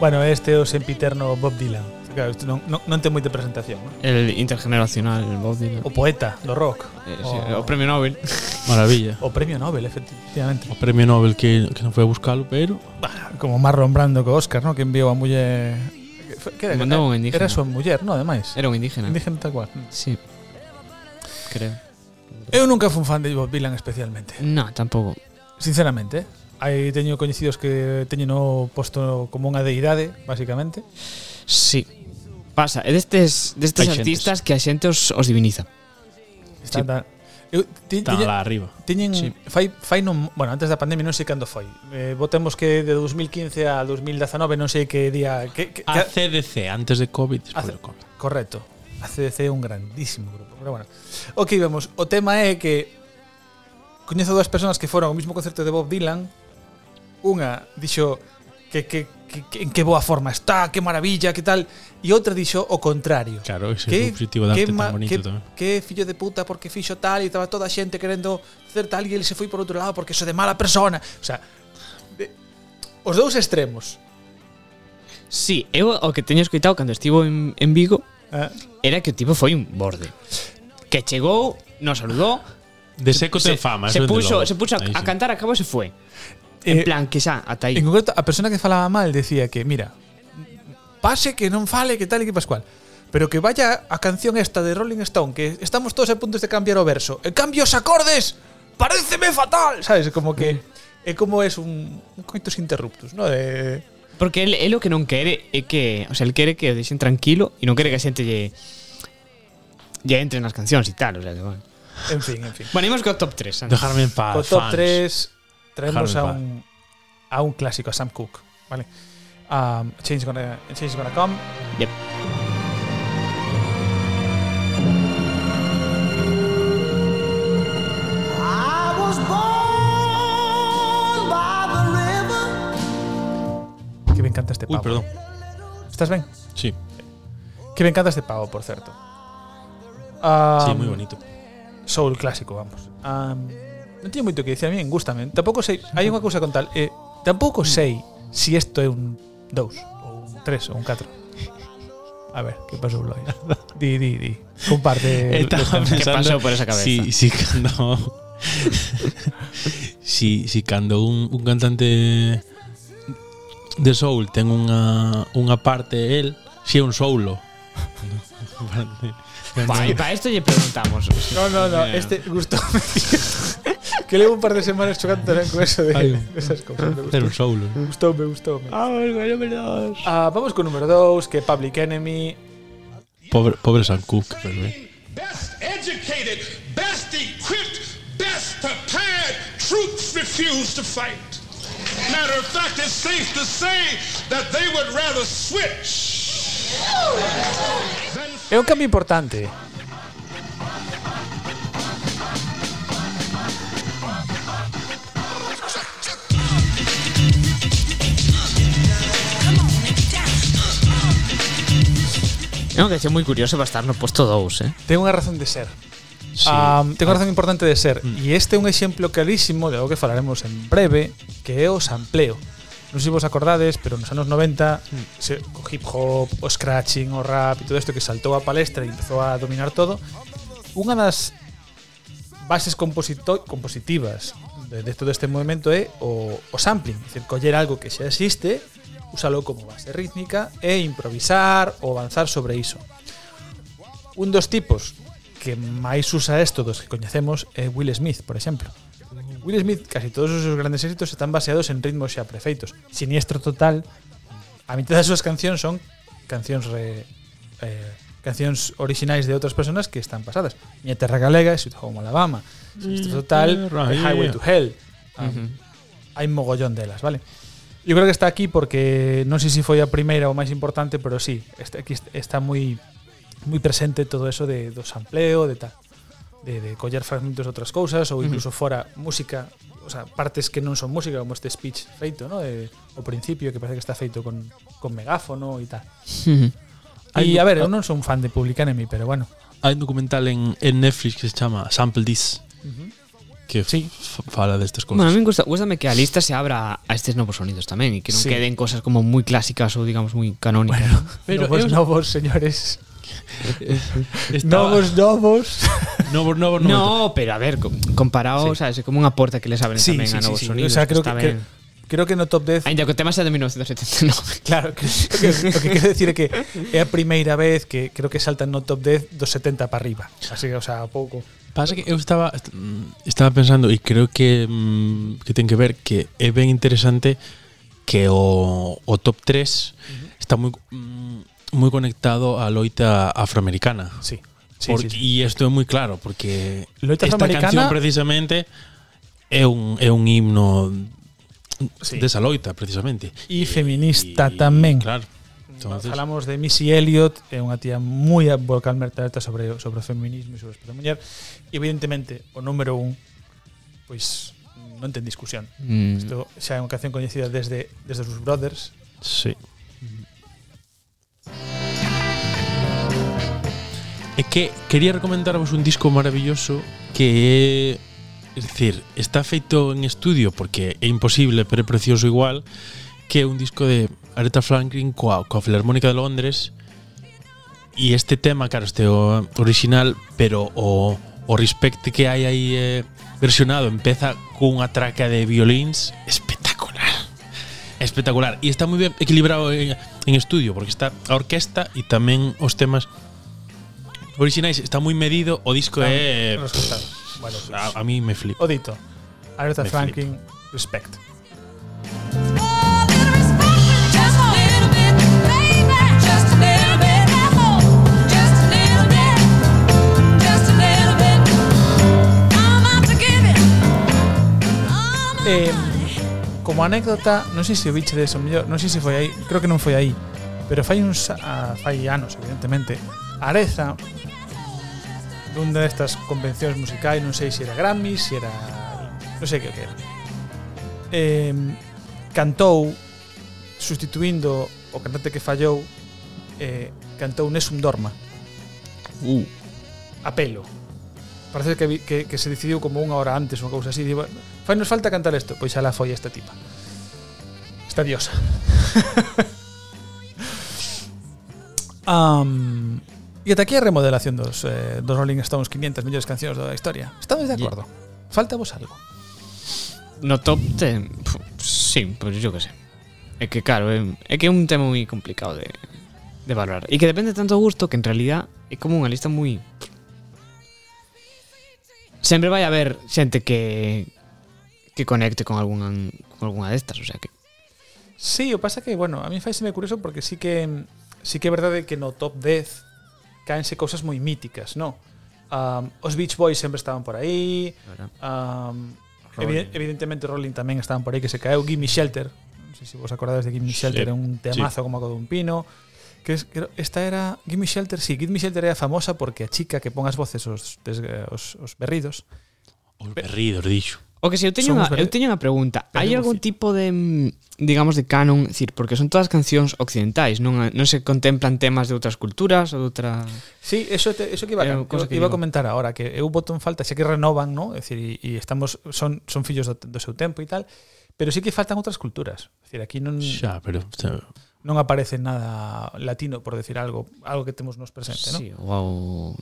Bueno, este é o sempiterno Bob Dylan Claro, isto non, non, non ten moita presentación. Non? El intergeneracional, el Bob Dylan. O poeta do rock. Eh, sí, o, o premio Nobel. Maravilla. o premio Nobel, efectivamente. O premio Nobel que, que non foi a buscalo, pero Como Marlon Brando co Oscar, ¿no? que enviou a muller... Que foi- Que era, Mandou un era indígena. súa muller, non, ademais. Era un indígena. Indígena tal cual. Sí. Creo. Eu nunca fui un fan de Bob Dylan especialmente. No, tampoco. Sinceramente, eh. hai teño coñecidos que teñen o posto como unha deidade, basicamente. Sí. Pasa, é destes, destes Hai xentes. artistas que a xente os, os diviniza. Está Sí. da- Eu, ti, está tiña- lá arriba. Teñen sí. Sí. fai fai non, bueno, antes da pandemia non sei cando foi. Eh, votemos que de 2015 a 2019 non sei que día que, que, que Ah, ACDC, antes de COVID, despois Hace- de COVID. correcto. A CDC é un grandísimo grupo, pero bueno. Ok, vemos. O tema é que coñezo dúas persoas que foron ao mesmo concerto de Bob Dylan. Unha dixo que, que, que, que en que boa forma está, que maravilla, que tal, e outra dixo o contrario. Claro, ese Que- é o objetivo da que arte ma- tan bonito que, tamén. que fillo de puta porque fixo tal e estaba toda a xente querendo facer tal e ele se foi por outro lado porque iso de mala persona. O sea, de, os dous extremos. Sí, eu o que teño escoitado cando estivo en, en Vigo Eh? era que o tipo foi un borde. Que chegou, nos saludou, De seco ten fama, se eso dende puxo, logo. se puxo a, Aí a sí. cantar a cabo e se foi. Eh, En plan, que xa, ata aí. En concreto, a persona que falaba mal decía que, mira, pase que non fale, que tal e que pascual. Pero que vaya a canción esta de Rolling Stone, que estamos todos a punto de cambiar o verso. E cambio os acordes, paréceme fatal, sabes? Como que Mm. é como es un, un coitus interruptus, ¿no? De, Porque el, el o que non quere é que, o sea, el quere que o deixen tranquilo e non quere que a xente lle lle entre nas cancións e tal, o sea, que, bueno. en fin, en fin. Bueno, imos co top 3. Dejarme en paz, O top Ah, fans. 3 traemos a Dejadme en un, a un clásico, a Sam Cooke, ¿vale? Um, Change gonna, Change gonna come. Yep. I was born by the river. Que me encanta este Uy, pavo. perdón. ¿Estás bien? Sí, Que me encanta este pavo, por cierto. Ah, sí, moi bonito. Soul clásico, vamos. Um, non teño moito que dicir a min, gustame. Tampouco sei, hai unha cousa con tal, eh, tampouco sei se si isto é un 2 ou un 3 ou un 4. A ver, que pasou Lois? Di, di, di. Comparte. Estaba ¿Qué pasó pensando por esa cabeza? Si, si cando si, si cando un, un cantante de soul ten unha unha parte el, si é un soulo. Para pa esto lle preguntamos. No, no, no, Eh. este gustó. que levo un par de semanas chocando tamén con eso de, Ay. de esas cosas. Me Era un soulo. ¿no? gustó, me gustó. Me gustó. Ah, bueno, verdad. Ah, vamos con número 2, que é Public Enemy. Pobre pobre Sam Cooke, pero ben. best educated, best equipped, best prepared troops refuse to fight. Matter of fact, it's safe to say that they would rather switch than É un cambio importante. É unha canción moi curiosa para estar no posto 2, eh. Ten unha razón de ser. Sí. Um, ten unha razón importante de ser. E este é un exemplo clarísimo de algo que falaremos en breve, que é o sampleo. Non sei se vos acordades, pero nos anos 90 se, o hip hop, o scratching, o rap e todo isto que saltou a palestra e empezou a dominar todo Unha das bases composito compositivas de, de todo este movimento é o, o sampling, é dicir, coller algo que xa existe, úsalo como base rítmica e improvisar ou avanzar sobre iso. Un dos tipos que máis usa isto dos que coñecemos é Will Smith, por exemplo. Will Smith, casi todos os seus grandes éxitos están baseados en ritmos xa prefeitos. Siniestro total, a mitad das súas cancións son cancións re, eh, cancións orixinais de outras persoas que están pasadas. Miña terra galega, Sweet Home Alabama, Siniestro total, terra, The Highway yeah. to Hell. Um, Hai mogollón delas, vale? Yo creo que está aquí porque non sei se foi a primeira ou máis importante, pero sí, está aquí est- está moi moi presente todo eso de do sampleo, de tal, de, de coller fragmentos de outras cousas ou incluso fora música, o sea, partes que non son música, como este speech feito, ¿no? De, o principio que parece que está feito con, con megáfono e tal. Hai E a un- ver, eu non son fan de Public Enemy, pero bueno. Hai un documental en, en Netflix que se chama Sample This. que Sí. f- fala destas Pues cousas. Bueno, a min gusta, gustame que a lista se abra a estes novos sonidos tamén e que non Sí. queden cosas como moi clásicas ou digamos moi canónicas. Bueno, Pero novos, eu- novos, señores. Estaba- Novos, novos. novos, novos, novos. No, pero a ver, co- comparado, sí. sabes, é como unha porta que les abren Sí, tamén sí, a sí, novos sí. O sonidos. sea, creo que, está que- ben. creo que no top 10 Ainda que o tema xa de 1979. Claro, que, o que, o que quero decir é que é a primeira vez que creo que saltan no top 10 dos 70 para arriba. Así que, o sea, pouco. Pasa que eu estaba mm, estaba pensando e creo que mm, que ten que ver que é ben interesante que o, o top 3 está moi mm, moi conectado á loita afroamericana. Sí. Sí, Porque, sí, sí. E isto é moi claro porque Loita esta afroamericana- canción precisamente é un é un himno Sí. desa loita precisamente. E feminista tamén. Claro. Entonces, Entonces, Falamos de Missy Elliott, é unha tía moi vocal merta sobre sobre o feminismo e sobre o respeto á muller. E, Evidentemente, o número un pois non ten discusión. Mm. Isto xa é unha canción coñecida desde desde os Brothers. Sí. É que quería recomendarvos un disco maravilloso que é Es decir, está feito en estudio porque é imposible, pero é precioso igual que é un disco de Aretha Franklin coa, coa Filarmónica de Londres e este tema, claro, este o original, pero o, o respecte que hai aí eh, versionado empeza cunha traca de violins espectacular espectacular e está moi ben equilibrado en, en estudio porque está a orquesta e tamén os temas originais está moi medido o disco é Nos contado. Bueno, pues, a, a mí me flipa o dito. Aretha Me Franklin, respect. Eh, como anécdota, non sei se o biche de eso mellor, non sei se foi aí, creo que non foi aí, pero fai uns a, fai anos, evidentemente, Areza dunha destas convencións musicais, non sei se era Grammy, se era non sei que o que era. Eh, cantou sustituindo o cantante que fallou eh, cantou Nessun Dorma Uh, a pelo. Parece que, vi- que, que se decidiu como unha hora antes unha cousa así. Digo, fai nos falta cantar isto. Pois xa la foi esta tipa. Esta diosa. um, e ata aquí a remodelación dos, eh, dos Rolling Stones 500 millóns cancións da historia. Estamos de acordo. Falta vos algo. no top ten, pf, sí, pois pues, yo que sé. É que claro, é, é que é un tema moi complicado de, de valorar. E que depende tanto do gusto que en realidad é como unha lista moi Sempre vai haber xente que que conecte con algunha con algunha destas, o sea que Sí, o pasa que, bueno, a mí faiseme curioso porque sí que sí que é verdade que no top 10 caense cousas moi míticas, no? Um, os Beach Boys sempre estaban por aí. Verdad. Um, evi- evidentemente Rolling tamén estaban por aí que se caeu Gimme Shelter. Non sei se vos acordades de Gimme Sí, Shelter, é un temazo como a codo un pino. Que es, creo- esta era Gimme Shelter, sí, Gimme Shelter era famosa porque a chica que pon as voces os, des, eh, os, os berridos Os berridos, dixo. O que se eu teño Somos unha, eu verde- teño unha pregunta. Hai veremos algún fi- tipo de mm, digamos de canon, Es decir, porque son todas cancións occidentais, non non se contemplan temas de outras culturas ou de outra Sí, eso, te- eso que iba, a- É unha cousa que iba a digo. comentar ahora, que eu boto en falta, xa que renovan, ¿no? É dicir, e, e estamos son son fillos do, do seu tempo e tal, pero sí que faltan outras culturas. É dicir, aquí non Xa, pero xa, non aparece nada latino por decir algo, algo que temos nos presente, ¿no? Sí, ou,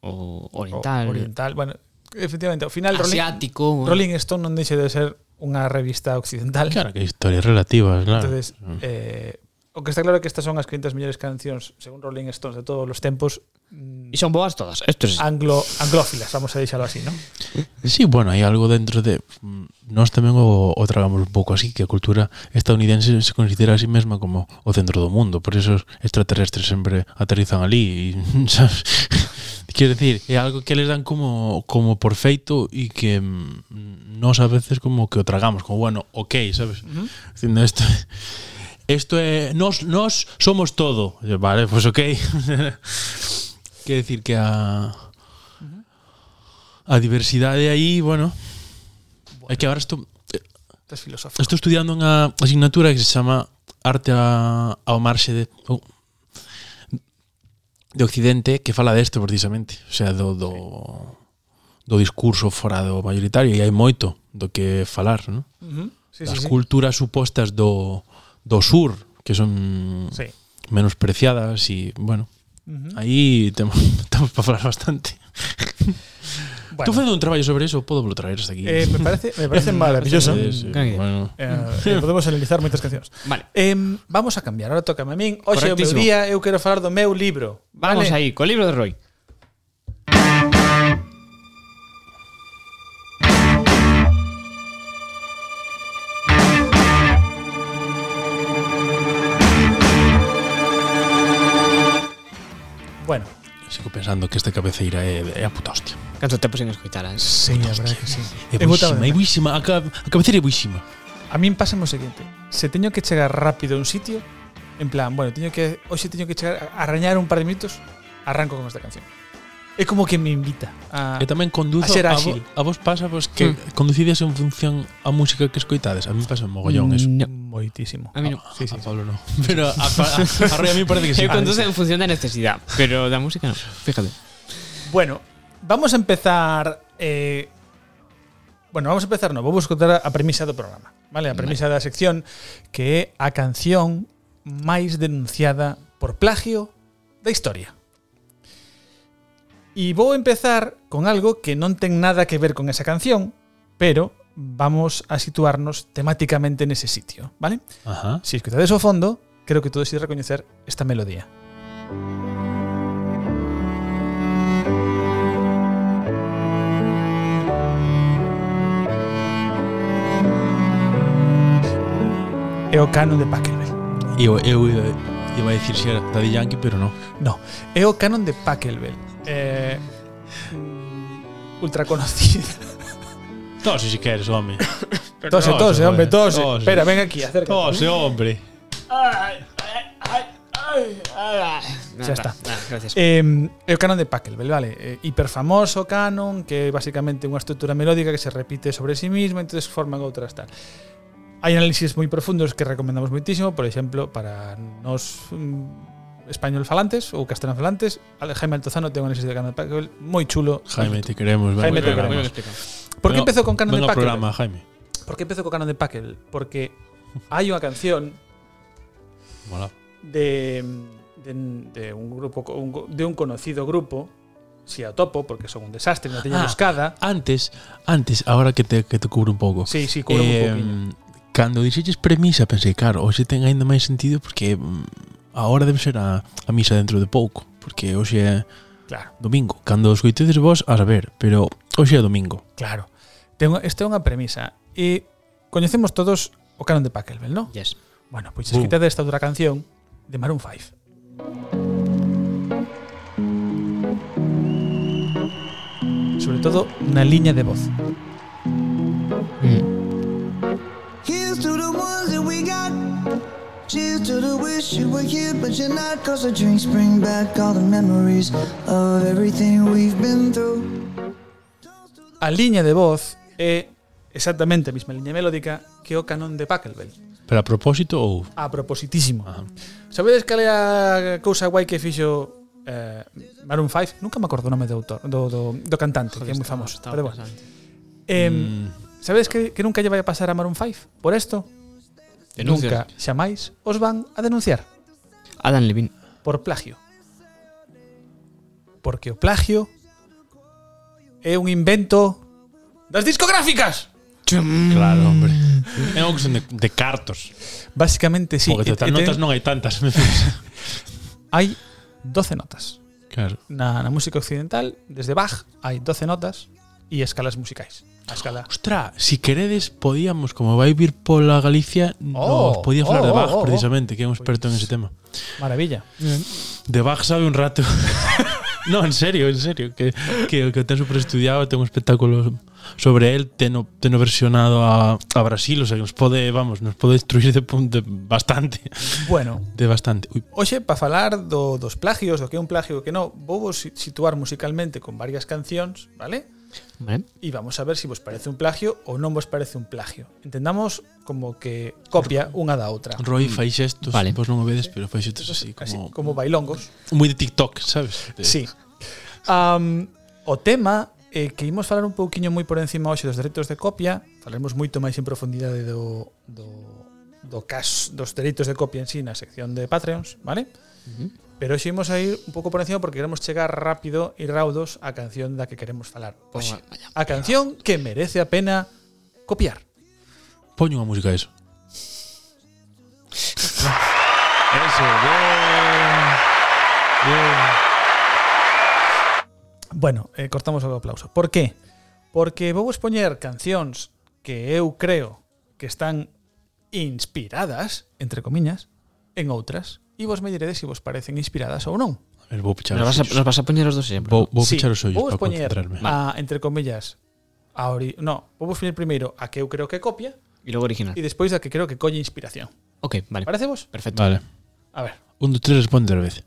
ou O- oriental, oriental, bueno, efectivamente, ao final Rolling, asiático. Rolling Stone non deixa de ser unha revista occidental. claro que historias relativas, claro. Mm. Entonces, Ah. eh, o que está claro é que estas son as 500 mellores cancións, según Rolling Stones, de todos os tempos mm, E son boas todas. Esto es anglo anglófilas, vamos a deixalo así, ¿no? sí, bueno, hai algo dentro de mm, nós tamén o, o tragamos un pouco así, que a cultura estadounidense se considera a sí mesma como o centro do mundo, por eso os extraterrestres sempre aterrizan ali, e, sabes? Quero decir, é algo que les dan como como por feito e que mm, nós a veces como que o tragamos, como bueno, ok, sabes? Uh -huh. Dicindo isto Esto é nós nós somos todo. E, Vale, pois pues ok. Quer decir que a a diversidade aí, bueno, é que agora estou Estas filosofías. estou estudiando unha asignatura que se chama Arte a, ao marxe de ou- de Occidente que fala desto precisamente, o sea, do do do discurso fora do mayoritario e hai moito do que falar, non? Sí, As sí, sí. culturas supostas do, do sur, que son Sí. menos preciadas e, bueno, aí temos, temos para falar bastante. Bueno, Tú fazendo un traballo sobre eso, podo lo traer hasta aquí. eh, me parece, me parece maravilloso. Sí, sí, Gran idea. bueno. Eh, podemos analizar moitas cancións. Vale. Em, vamos a cambiar, ahora toca a min. Hoxe o meu Correctísimo. día eu quero falar do meu libro. Vamos vale? ahí, con el libro de Roy. Bueno, Sigo pensando que esta cabeceira é, é a puta hostia. Canto tempo sin escoitalas. sí, a verdade que sí. É buísima, é buísima. A, ca- a cabeceira é buísima. A min pasa o seguinte, se teño que chegar rápido a un sitio, en plan, bueno, teño que hoxe teño que chegar a arañar un par de minutos, arranco con esta canción. É como que me invita a E tamén conduzo Ah. a ser Hmm. a, áxil. vo- a vos pasa vos que conducides en función a música que escoitades. A mí pasa un Mm. mogollón eso. No, moitísimo. a mí no. Sí, sí, a Pablo no. Pero a, a, a Roy a mí parece que sí. Se conduce en función de necesidad, pero la música no. Fíjate. Bueno, vamos a empezar eh Bueno, vamos a empezar, no, vou vos contar a premisa do programa, vale? A premisa da sección que é a canción máis denunciada por plagio da historia. E vou empezar con algo que non ten nada que ver con esa canción, pero vamos a situarnos temáticamente nese sitio, vale? Ajá. Si escoitades o fondo, creo que todos ides recoñecer esta melodía. É o canon de Pachelbel. Eu, eu eh, iba a dicir se era Daddy Yankee, pero no. No, é o canon de Pachelbel. Eh, mm, ultra conocida. Tose si queres, home. Tose, tose, hombre, tose. Tose. Espera, ven aquí, acércate. Tose, hombre. Ya está. Nada, gracias. Eh, é o canon de Pachelbel, vale? Eh, hiperfamoso canon, que é basicamente unha estrutura melódica que se repite sobre sí misma, entonces forman outras tal. Hai análisis moi profundos que recomendamos moitísimo, por exemplo, para nos mm, español falantes ou castelán falantes, Ale- Jaime Altozano ten un análisis de canon de Pachelbel moi chulo. Jaime, te queremos. Jaime, te Muy venga, venga, queremos. bien venga. explicado. Por que Venga, empezou con canon de venga ao Pachelbel? programa, Jaime. Por que empezou co canon de Pachelbel? Porque hai unha canción Mola. de, de, de un grupo co- un, go- de un conocido grupo si a topo porque son un desastre non teño Ah. buscada Antes, antes, ahora que te, que te cubro un pouco. Sí, sí, cubro un pouquiño. Cando dixeches premisa, pensei, claro, hoxe ten aínda máis sentido porque mm, a hora debe ser a, a misa dentro de pouco, porque hoxe é claro domingo. Cando escoitedes vos, a saber, pero hoxe é domingo. claro ten, esta é unha premisa e coñecemos todos o canon de Pachelbel non? Yes. bueno, pois Uh. escrita desta outra canción de Maroon 5 sobre todo na liña de voz Here's to the ones that we got. Cheers to the wish you were here, but you're not. Cause the drinks bring back all the memories of everything we've been through. a liña de voz é exactamente a mesma liña melódica que o canon de Pachelbel Pero a propósito ou... a propositísimo Ajá. Sabedes cal é a cousa guai que fixo eh, Maroon 5? Nunca me acordo o nome do autor, do, do, do cantante, que é moi famoso. Estaba Pero bueno. pensando. Eh, Mm, Sabedes que, que nunca lle vai a pasar a Maroon 5? Por esto, Denuncias. nunca xa máis os van a denunciar Adam Levine. por plagio. Porque o plagio é un invento das discográficas. Mm, claro, hombre. É unha cuestión de, de cartos. Basicamente, sí. Sí, e- porque e total, ten- notas non hai tantas. me fixo. Hai 12 notas. claro. na, na música occidental, desde Bach, hai 12 notas e escalas musicais. A escala. Ostra, si queredes, podíamos, como vai vir pola Galicia, Oh, nos podía falar oh, de Bach, oh, Pois oh. precisamente, que é un experto en ese tema. Maravilla. De Bach sabe un rato. no, en serio, en serio. Que, que, que o ten super estudiado, ten un espectáculo sobre él, teno, teno versionado a, a Brasil, o sea, que nos pode, vamos, nos pode destruir de, pun- de bastante. Bueno, De bastante. Ui, hoxe, para falar do, dos plagios, do que é un plagio e o que non, vou vos si- situar musicalmente con varias cancións, vale? Vale. E vamos a ver se si vos parece un plagio ou non vos parece un plagio. Entendamos como que copia unha da outra. Roy fai xestos, Vale. vos non o vedes, pero fai xestos así, Así, como como, bailongos. moi de TikTok, sabes? De- Sí. Am, o tema Eh, que imos falar un pouquiño moi por encima hoxe dos dereitos de copia Falaremos moito máis en profundidade do, do, do cas dos dereitos de copia en sí na sección de Patreons, vale? Pero hoxe imos a ir un pouco por encima porque queremos chegar rápido e raudos á canción da que queremos falar Pois hoxe. A canción que merece a pena copiar. Poño unha música a eso. Eso, bien. Bueno, eh, cortamos o aplauso. Por qué? Porque vou vos poñer cancións que eu creo que están inspiradas, entre comiñas, en outras. E vos me diredes se vos parecen inspiradas ou non. A ver, vou pichar Nos os vas, a, ollos. nos vas a poñer os dos exemplos. Vou, vou Sí, pichar os ollos vou vos para poñer concentrarme. A, entre comillas, a ori no, vou vos poñer primeiro a que eu creo que copia Y luego original. e despois a que creo que colle inspiración. Ok, vale. Parece vos? Perfecto. Vale. A ver. Un, dos, tres, responde a vez.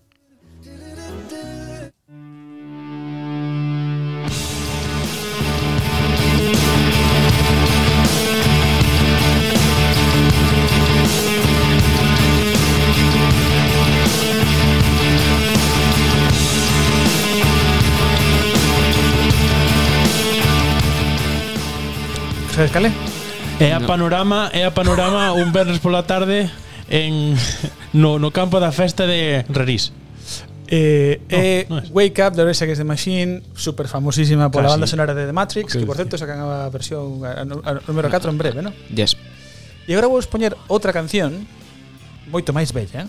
Sabes cale? É a panorama, é a panorama un vernos pola tarde en no, no campo da festa de Rerís. Eh, No, eh, no es. Wake Up de Oreos Against the Machine, super famosísima pola Casi. banda sonora de The Matrix, Ok, que por decía. certo sacan a versión a, a, a número 4 en breve, ¿no? Yes. E agora vou poñer outra canción moito máis bella, ¿eh?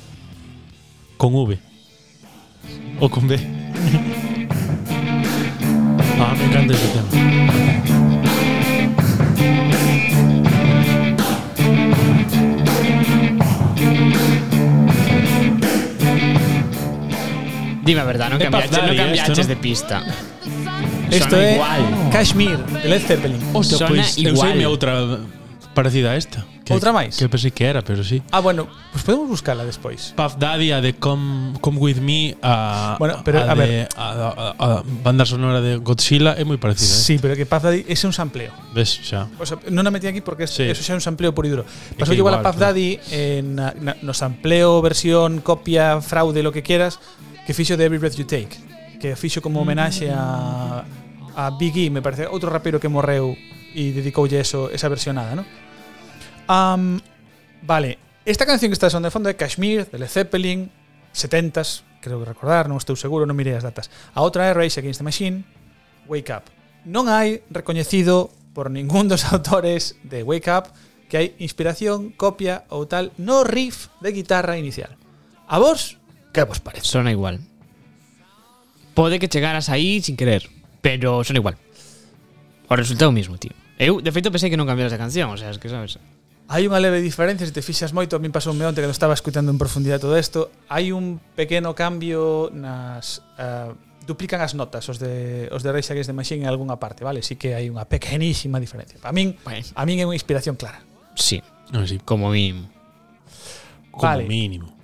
Con V. O con B. ah, me encanta ese tema. Dime la verdad, no De cambiaches, Puff Daddy, no cambiaches esto, ¿no? de pista. Esto Suena é Oh. igual. Kashmir, de Led Zeppelin. Hostia, Sona pois eu igual. sei outra parecida a esta. Que, Outra máis? Que pensei que era, pero sí. Ah, bueno, pues podemos buscala despois. Puff Daddy a de Come, Come With Me a, Bueno, pero, a, a de- ver. a, a- a- a banda sonora de Godzilla é moi parecida. Sí, pero que Puff Daddy ese é un sampleo. Eh? Ves, xa. O sea, non a metí aquí porque es- Sí. eso xa é un sampleo puro e duro. Pasou que igual a igual, Puff claro. Daddy en na, na, no sampleo, versión, copia, fraude, lo que quieras, que fixo de Every Breath You Take, que fixo como homenaxe a a Big E, me parece, outro rapero que morreu e dedicoulle eso, esa versionada, ¿no? Am, vale, esta canción que está sonando de fondo é Kashmir, de Led Zeppelin, 70s, creo que recordar, non estou seguro, non mirei as datas. A outra é Rage Against the Machine, Wake Up. Non hai recoñecido por ningún dos autores de Wake Up que hai inspiración, copia ou tal no riff de guitarra inicial. A vos, que vos parece? Suena igual. Puede que llegaras ahí sin querer, pero suena igual. O resultado mismo, tío. Eu, de feito, pensei que non cambiaras a canción, o sea, es que sabes. Hai unha leve diferencia, se te fixas moito, a min pasou me onte que non estaba escutando en profundidade todo isto, hai un pequeno cambio nas... ah, duplican as notas os de os de Rage Against the Machine en algunha parte, vale? Sí que hai unha pequenísima diferencia. Para min, Bueno. a min é unha inspiración clara. Sí, Non, sí, como mínimo. como Vale. mínimo.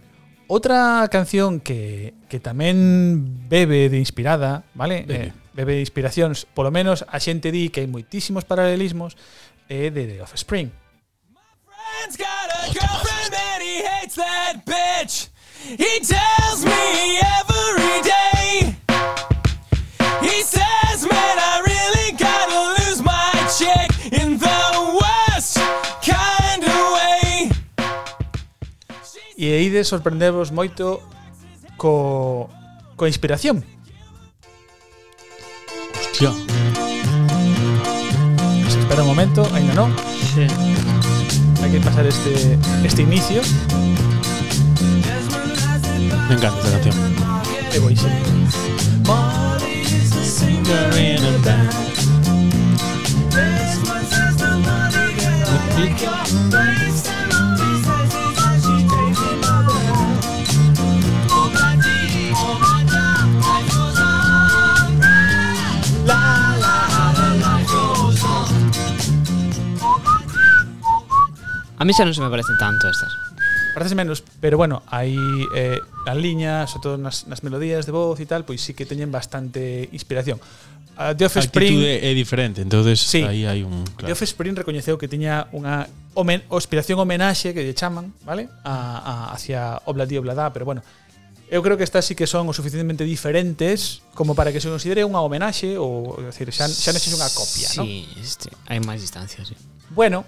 Outra canción que, que tamén bebe de inspirada, vale? Bebe. Eh, bebe de inspiracións, polo menos a xente di que hai moitísimos paralelismos é eh, de The Offspring. Friend's got a girlfriend and he hates that bitch. He tells me every day. He says, man, I really gotta lose my chick in the worst kind of way. E aí de sorprendervos moito co, co inspiración. Hostia. Pues espera un momento, ainda non. Hai que pasar este este inicio. Me encanta esta canción. E vou ixer. A mí xa non se me parecen tanto estas. Parece menos, pero bueno, hai eh, as liñas, sobre todo nas, nas melodías de voz e tal, pois sí que teñen bastante inspiración. A The A Offspring, actitude é diferente, entonces Sí. aí hai un... The Claro. Offspring recoñeceu que tiña unha homen, o inspiración homenaxe que lle chaman, vale? A, a, hacia Obladí Obladá, pero bueno, Eu creo que estas sí que son o suficientemente diferentes como para que se considere unha homenaxe ou, é dicir, xa, xa non sexa unha copia, non? Sí, este, hai máis distancia, sí. Bueno,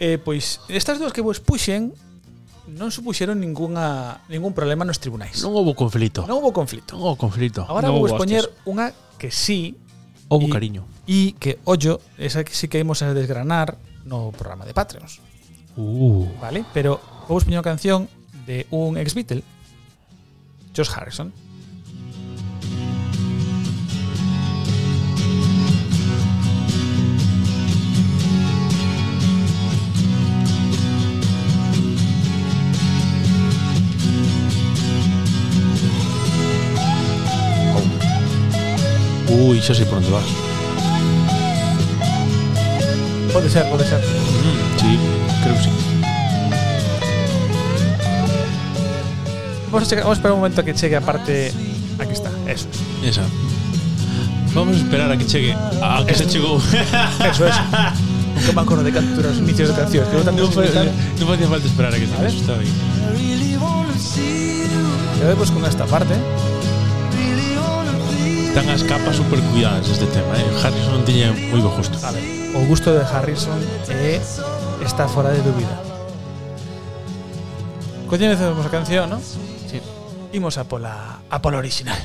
eh, pois estas dúas que vos puxen non supuxeron ningunha, ningún problema nos tribunais. Non houve conflito. non houbo conflito. Non houbo conflito. Agora Non vou vos houbo poñer hostias. unha que sí Houbo y- cariño. e que, ollo, esa que sí que imos a desgranar no programa de Patreons, Uh, vale? Pero vou vos poñer unha canción de un ex-Beatle, Josh Harrison. ui, xa sei por onde vas. Pode ser, pode ser. Mm, sí, creo que sí. Vamos a, chegar, vamos a esperar un momento a que chegue a parte... Aquí está, eso es. Esa. Vamos a esperar a que chegue. A que se chegou. Eso es. Nunca me acordo de canturas os inicios de cancións. Que eu tanto non, fa, escutar. non facía falta esperar a que A ver. chegue. Está ben. E vemos con esta parte. Están as capas super cuidadas este tema, eh. Harrison tiña moi bo gusto. A ver, o gusto de Harrison é está fora de dúbida. Coñecemos a canción, non? Sí. Imos a pola a pola original.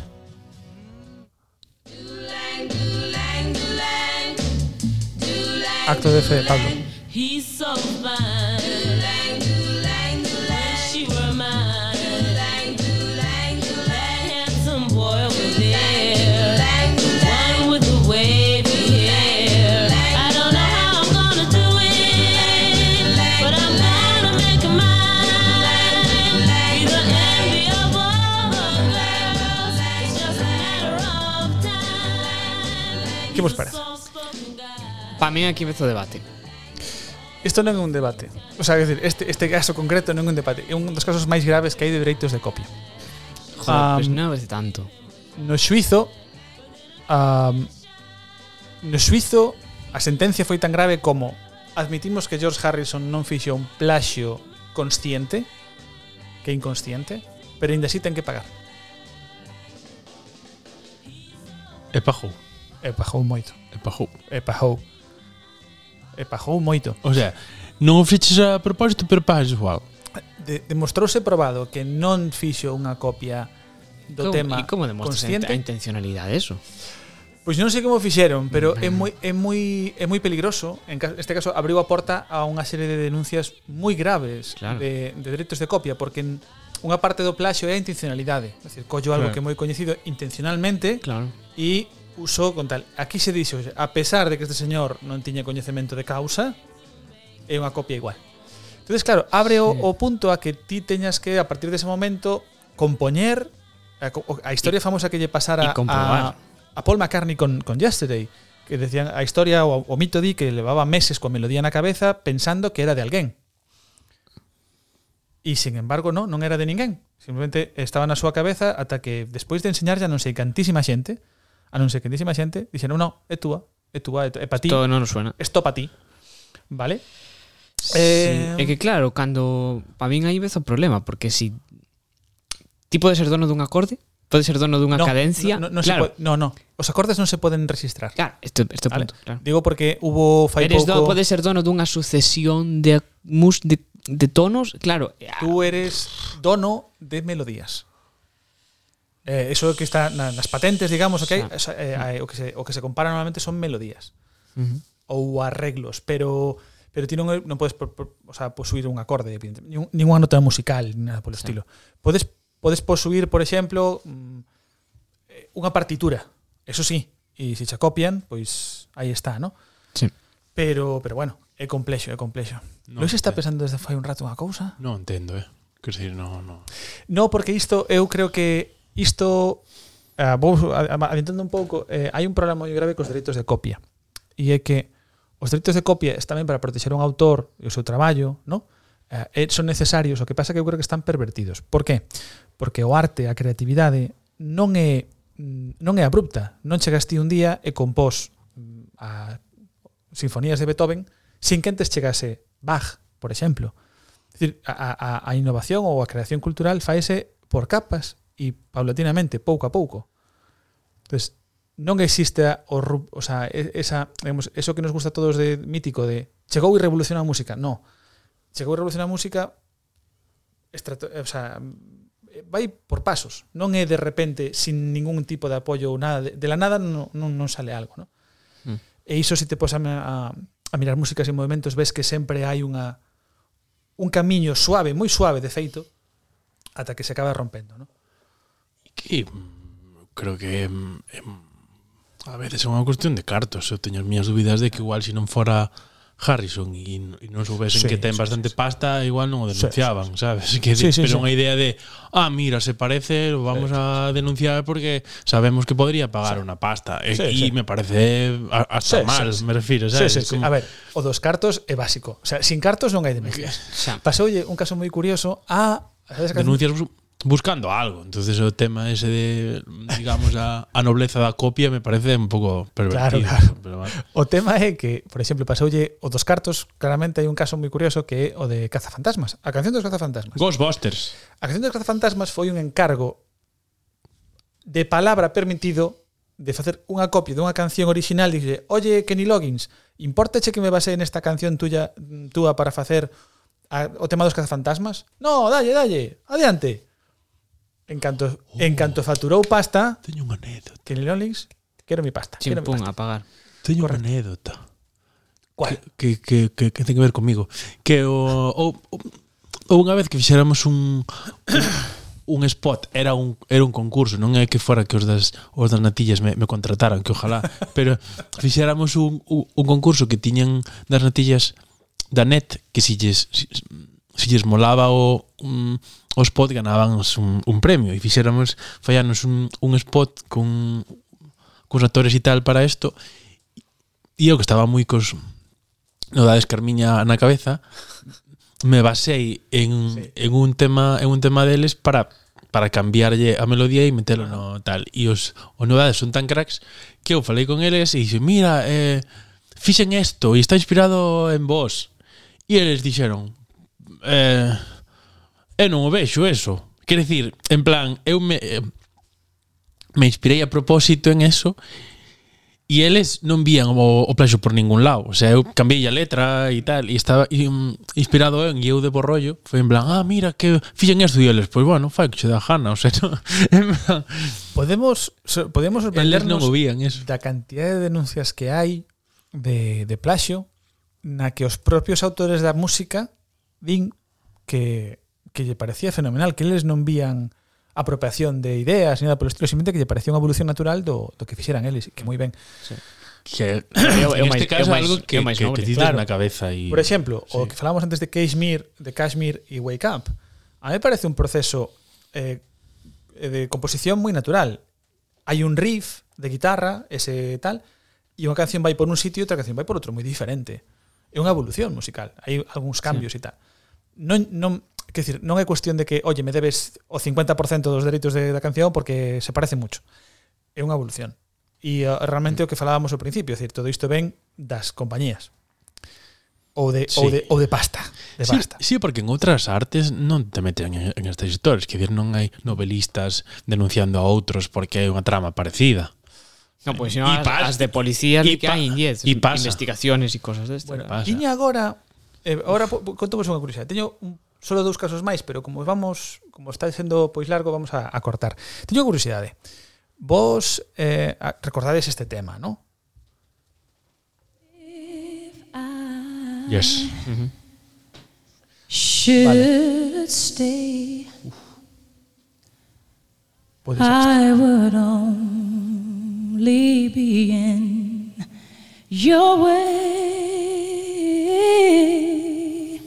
Acto de fe, Pablo. He's so fine. Wish she were mine. That handsome boy over there. The one with the wavy hair. I don't know how I'm gonna do it, but I'm gonna make him mine. He's an enviable girl. It's just a matter of time. Que vos parece? Soft-spoken guy. Pa min aquí empezou o debate. Isto non é un debate. O sea, quer dizer, este, este caso concreto non é un debate. É un dos casos máis graves que hai de dereitos de copia. Joder, pois Am. non parece tanto. no xuizo um, no xuizo a sentencia foi tan grave como admitimos que George Harrison non fixo un plaxio consciente que inconsciente pero ainda así ten que pagar É pajo. e pajou moito É pajo. e pajou e pajou moito O sea, non o fiches a propósito, pero pagas igual. De, demostrouse probado que non fixo unha copia do Como- tema e como demostras consciente a intencionalidade eso? Pois non sei como fixeron, pero é moi é moi é moi peligroso. En ca- este caso abriu a porta a unha serie de denuncias moi graves Claro. de de dereitos de copia porque en- unha parte do plaxio é a intencionalidade, é dicir, collo algo Claro. que é moi coñecido intencionalmente Claro. e usou con tal. Aquí se dixo, "Oxe, a pesar de que este señor non tiña coñecemento de causa, é unha copia igual. Entonces, claro, abre o, o punto a que ti teñas que a partir dese momento compoñer a, co- a historia famosa que lle y pasara a, comprobar. a Paul McCartney con, con Yesterday, que decían a historia o, o mito di que levaba meses coa melodía na cabeza pensando que era de alguén. E sin embargo, no, non era de ninguén. Simplemente estaba na súa cabeza ata que despois de enseñar a non sei cantísima xente, a non sei cantísima xente, dixeron, "No, é túa, é túa, é, tú- é pa ti, Todo non nos suena. isto pa ti." Vale? Eh, sí. É que claro, cando pa min aí vez o problema, porque si ti podes ser dono dun acorde, podes ser dono dunha no, cadencia, No, no, no, se claro. pode- no, no. Os acordes non se poden registrar. Claro, este, este Vale? punto, claro. Digo porque hubo fai Eres do, pouco. podes ser dono dunha sucesión de ac- mus de, de tonos, claro. Tú eres dono de melodías. Eh, eso que está na, nas patentes, digamos, o que, hai, Xa. Mm. xa, eh, hai- o, que se, o que se compara normalmente son melodías Ujú. ou arreglos, pero pero ti non, non podes por, por, o sea, posuir un acorde, evidentemente, nin, nin unha nota musical, ni nada polo estilo. Podes podes posuir, por exemplo, mm, eh, unha partitura, eso sí, e se che copian, pois aí está, ¿no? Sí. Pero pero bueno, é complexo, é complexo. Non, Luis está eh. pensando desde fai un rato unha cousa? Non entendo, eh. Quer dizer, non, non. No, porque isto eu creo que isto uh, vou a- a- aventando un pouco, eh, hai un problema moi grave cos dereitos de copia. E é que os dereitos de copia están ben para protexer un autor e o seu traballo, ¿no? Eh, son necesarios, o que pasa é que eu creo que están pervertidos. Por qué? Porque o arte, a creatividade non é mm, non é abrupta. Non chegas ti un día e compós mm, a sinfonías de Beethoven sin que antes chegase Bach, por exemplo. Es decir, a, a- a- a innovación ou a creación cultural faese por capas e paulatinamente, pouco a pouco. Entonces, non existe a- o, ru- o sea, e- esa, digamos, eso que nos gusta a todos de mítico de chegou e revolucionou a música. No. Chegou e revolucionou a música estrato, eh, o sea, eh, vai por pasos. Non é de repente sin ningún tipo de apoio ou nada, de, de la nada non, non, non sale algo, ¿no? Mm. E iso se te pos a, a, a mirar músicas e movimentos ves que sempre hai unha un camiño suave, moi suave de feito ata que se acaba rompendo, ¿no? Que mm, creo que mm, em, a veces é unha cuestión de cartos. Eu teño as miñas dúbidas de que igual se non fora Harrison e, n- e non soubesen Sí, que ten sí, bastante pasta, igual non o Sí, sí, denunciaban, sabes? Que Sí, de- sí, sí. pero unha idea de, ah, mira, se parece, lo vamos a denunciar porque sabemos que podría pagar unha pasta. E, Sí, e sí. me parece a- Sí, hasta mal, sí, sí. me refiro, Sí, sabes? sí, sí. Como- A ver, o dos cartos é básico. O sea, sin cartos non hai denuncias. Xa. Pasoulle un caso moi curioso a ¿sabes a canción? denuncias bus- buscando algo. Entonces o tema ese de, digamos, a, a nobleza da copia me parece un pouco Claro, pervertido. claro. Pero bueno. O tema é que, por exemplo, pasoulle o dos cartos, claramente hai un caso moi curioso que é o de Cazafantasmas. A canción dos Cazafantasmas. Ghostbusters. A canción dos Cazafantasmas foi un encargo de palabra permitido de facer unha copia dunha canción original e dixlle, oye, Kenny Loggins, importache que me basee nesta canción tuya, túa para facer a, o tema dos cazafantasmas? No, dalle, dalle, adiante. En canto, oh. en canto facturou pasta, Teño unha anécdota. Kenny Loggins, quero mi pasta. Quero mi Chimpún, pasta. apagar. Teño Correcto. unha anécdota. Cual? Que, que, que, que ten que ver comigo. Que o... o, o Ou unha vez que fixéramos un, un spot era un era un concurso, non é que fora que os das os das natillas me, me contrataran, que ojalá, pero fixéramos un, un, un concurso que tiñan das natillas da net que si lles si, si lles molaba o um, o spot ganaban un, un premio e fixéramos fallanos un, un spot con cos actores e tal para isto e eu que estaba moi cos no da escarmiña na cabeza me basei en, sí. en un tema en un tema deles para para cambiarlle a melodía e metelo no tal. E os o Nodades son tan cracks que eu falei con eles e dixen, "Mira, eh fixen isto e está inspirado en vos." E eles dixeron, "Eh, eu non o vexo eso." Quer dicir, en plan, eu me eh, me inspirei a propósito en eso E eles non vían o, o plaxo por ningún lado. O sea, eu cambiei a letra e tal, e estaba um, inspirado en e eu de borrollo. Foi en plan, ah, mira, que fixen esto. E eles, pois, bueno, fai que che da jana. O sea, no, en plan, Podemos, so- podemos eles non sorprendernos o vían eso. da cantidad de denuncias que hai de, de plaxio na que os propios autores da música din que, que lle parecía fenomenal, que eles non vían apropiación de ideas ni nada polo estilo, simplemente que lle parecía unha evolución natural do, do que fixeran eles, que moi ben. Que, Eu- eu en máis- este caso eu é máis- algo que, eu máis que noble, te tiras claro. na cabeza. E, Por exemplo, sí. o sí. que falábamos antes de Kashmir, de Kashmir e Wake Up. A mí me parece un proceso eh, de composición moi natural. Hai un riff de guitarra, ese tal, e unha canción vai por un sitio e outra canción vai por outro moi diferente. É unha evolución musical. Hai algúns cambios e tal. Non non quer dizer, non é cuestión de que, oye, me debes o 50% dos dereitos de, da canción porque se parece mucho. É unha evolución. E uh, Mm. realmente o que falábamos ao principio, é dicir, todo isto ven das compañías ou de, sí. ou Sí. de, ou de pasta. De Sí, pasta. sí, porque en outras artes non te meten en, en estas historias. Quer dizer, non hai novelistas denunciando a outros porque hai unha trama parecida. No, pois Y senón as, pas- as de policía de y que pa- hai en diez, y pasa. investigaciones e cosas Bueno, destas. pasa. tiña agora eh, agora po- po- conto vos unha curiosidade. Teño un, solo dous casos máis, pero como vamos como está sendo pois largo, vamos a, a cortar. Teño unha curiosidade. Vos eh, a- recordades este tema, non? Yes. Should stay. I would only be in your way.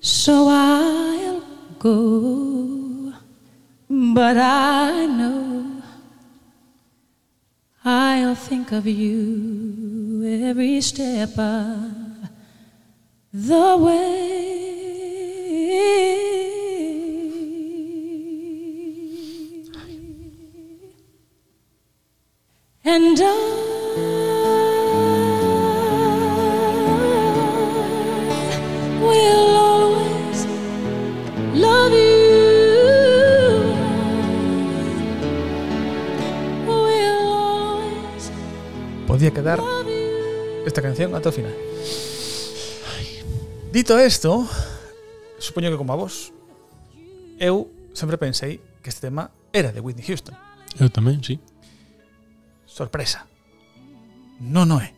So I'll go. But I know I'll think of you every step of the way. And I will always love you. podía quedar esta canción hasta el final. Dito esto, supoño que como a vos, eu sempre pensei que este tema era de Whitney Houston. Eu tamén, sí. Sorpresa. No, no é.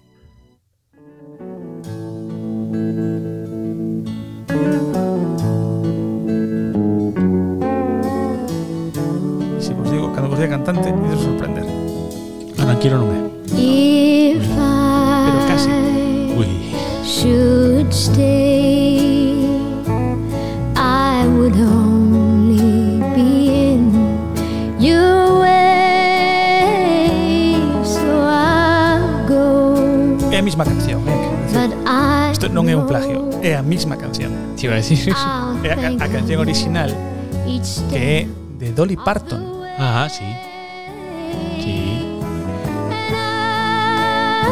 Se vos digo, cando vos diga cantante, ides sorprender. Ananquiro non é. If Pero casi. I Ui, should stay, I would only be in your way. So I'll go. É a mesma canción, eh? quero But dicir. I Isto non é un plagio, é a mesma canción. Te iba a decir eso. I'll É a, thank a canción you original each day que é de Dolly Parton. Ah, sí. Sí. And I